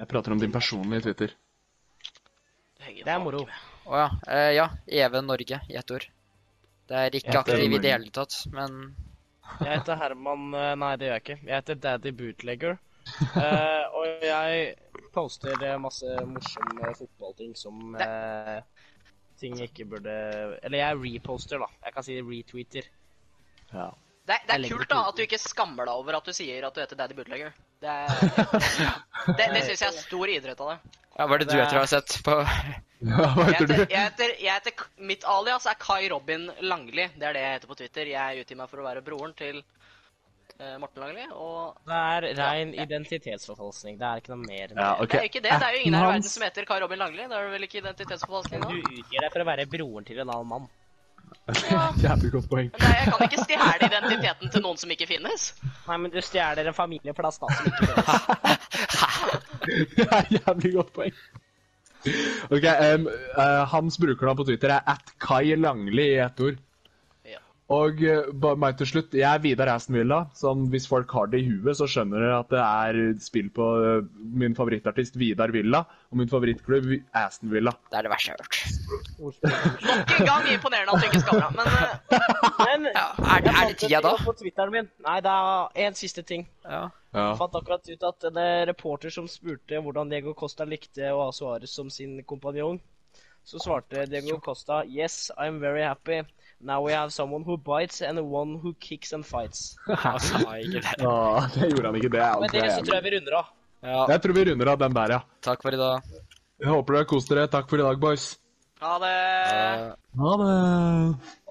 Speaker 2: Jeg prater om din personlige <laughs> Twitter.
Speaker 4: henger
Speaker 1: Det er
Speaker 4: faen
Speaker 1: moro.
Speaker 4: ikke med.
Speaker 3: Å ja. Eh, ja. Even Norge i ett ord. Det er ikke
Speaker 2: Even
Speaker 3: aktiv i
Speaker 2: Norge.
Speaker 3: det hele tatt, men
Speaker 1: Jeg heter Herman eh, Nei, det gjør jeg ikke. Jeg heter Daddy Bootlegger. Eh, og jeg poster eh, masse morsomme fotballting som eh, ting ikke burde Eller jeg reposter, da. Jeg kan si retweeter.
Speaker 2: Ja.
Speaker 4: Det, er- det
Speaker 1: Jeg
Speaker 4: er
Speaker 1: legger
Speaker 4: kult
Speaker 1: det
Speaker 4: da
Speaker 1: ut.
Speaker 4: at du ikke skammer deg over at du sier at du heter Daddy Bootlegger. Det, er- det, det syns jeg er stor idrett av deg.
Speaker 3: ja, Hva er det du
Speaker 1: Det er-
Speaker 3: etter å ha sett på <laughs>
Speaker 2: Hva
Speaker 4: Jeg
Speaker 2: heter
Speaker 4: heter,
Speaker 2: du?
Speaker 4: jeg heter, jeg heter, K- mitt alias er Kai Robin Langli. Det er det jeg heter på Twitter. Jeg utgir meg for å være broren til eh, Morten Langli. Og
Speaker 1: Det er rein identitetsforfalskning. Det er ikke noe mer enn det.
Speaker 2: Ja, ok.
Speaker 4: det er jo ikke det. Det er jo ingen her i
Speaker 2: Hans-
Speaker 4: verden som heter Kai Robin Langli. Det er vel ikke identitetsforfalskning
Speaker 1: Men
Speaker 4: nå?
Speaker 1: du utgir deg for å være broren til en annen mann.
Speaker 2: <laughs> Jævlig godt poeng.
Speaker 4: Men jeg kan ikke stjele identiteten til noen som ikke finnes.
Speaker 1: Nei, men du stjeler en familieplass, da. Som <laughs> ikke
Speaker 2: <laughs> Det er Jævlig godt poeng. Ok, em, eh, Hans brukernavn på Twitter er at Kai Langli i ett ord.
Speaker 4: Ja.
Speaker 2: Og eh, bare meg til slutt, jeg er Vidar Aston Villa. Sånn, hvis folk har det i huet, så skjønner dere at det er spill på eh, min favorittartist Vidar Villa og min favorittklubb Aston Villa.
Speaker 3: Det er det verste jeg har hørt.
Speaker 4: Nok en gang imponerende at du ikke skammer deg. Men eh,
Speaker 1: Men
Speaker 3: Ja, er, det- er det tida da?
Speaker 1: På Twitteren min. Nei, det er en siste ting.
Speaker 3: Ja.
Speaker 1: Jeg fant akkurat ut at en eh, reporter som spurte hvordan Diego Costa likte å ha Suárez som sin kompanjong, så svarte Diego Costa Yes, I'm very happy. Now we have someone who bites and one who kicks and fights.
Speaker 3: <laughs> Han sa ikke det.
Speaker 2: Å, det gjorde han ikke, det. er
Speaker 1: Med
Speaker 2: altså
Speaker 1: det så
Speaker 2: jævlig.
Speaker 1: tror jeg vi runder av.
Speaker 3: Ja,
Speaker 2: Jeg tror vi runder av den der, ja.
Speaker 3: takk for i dag.
Speaker 2: Jeg håper dere har kost dere. Takk for i dag, boys.
Speaker 4: ha det.
Speaker 3: Eh,
Speaker 2: Ha det.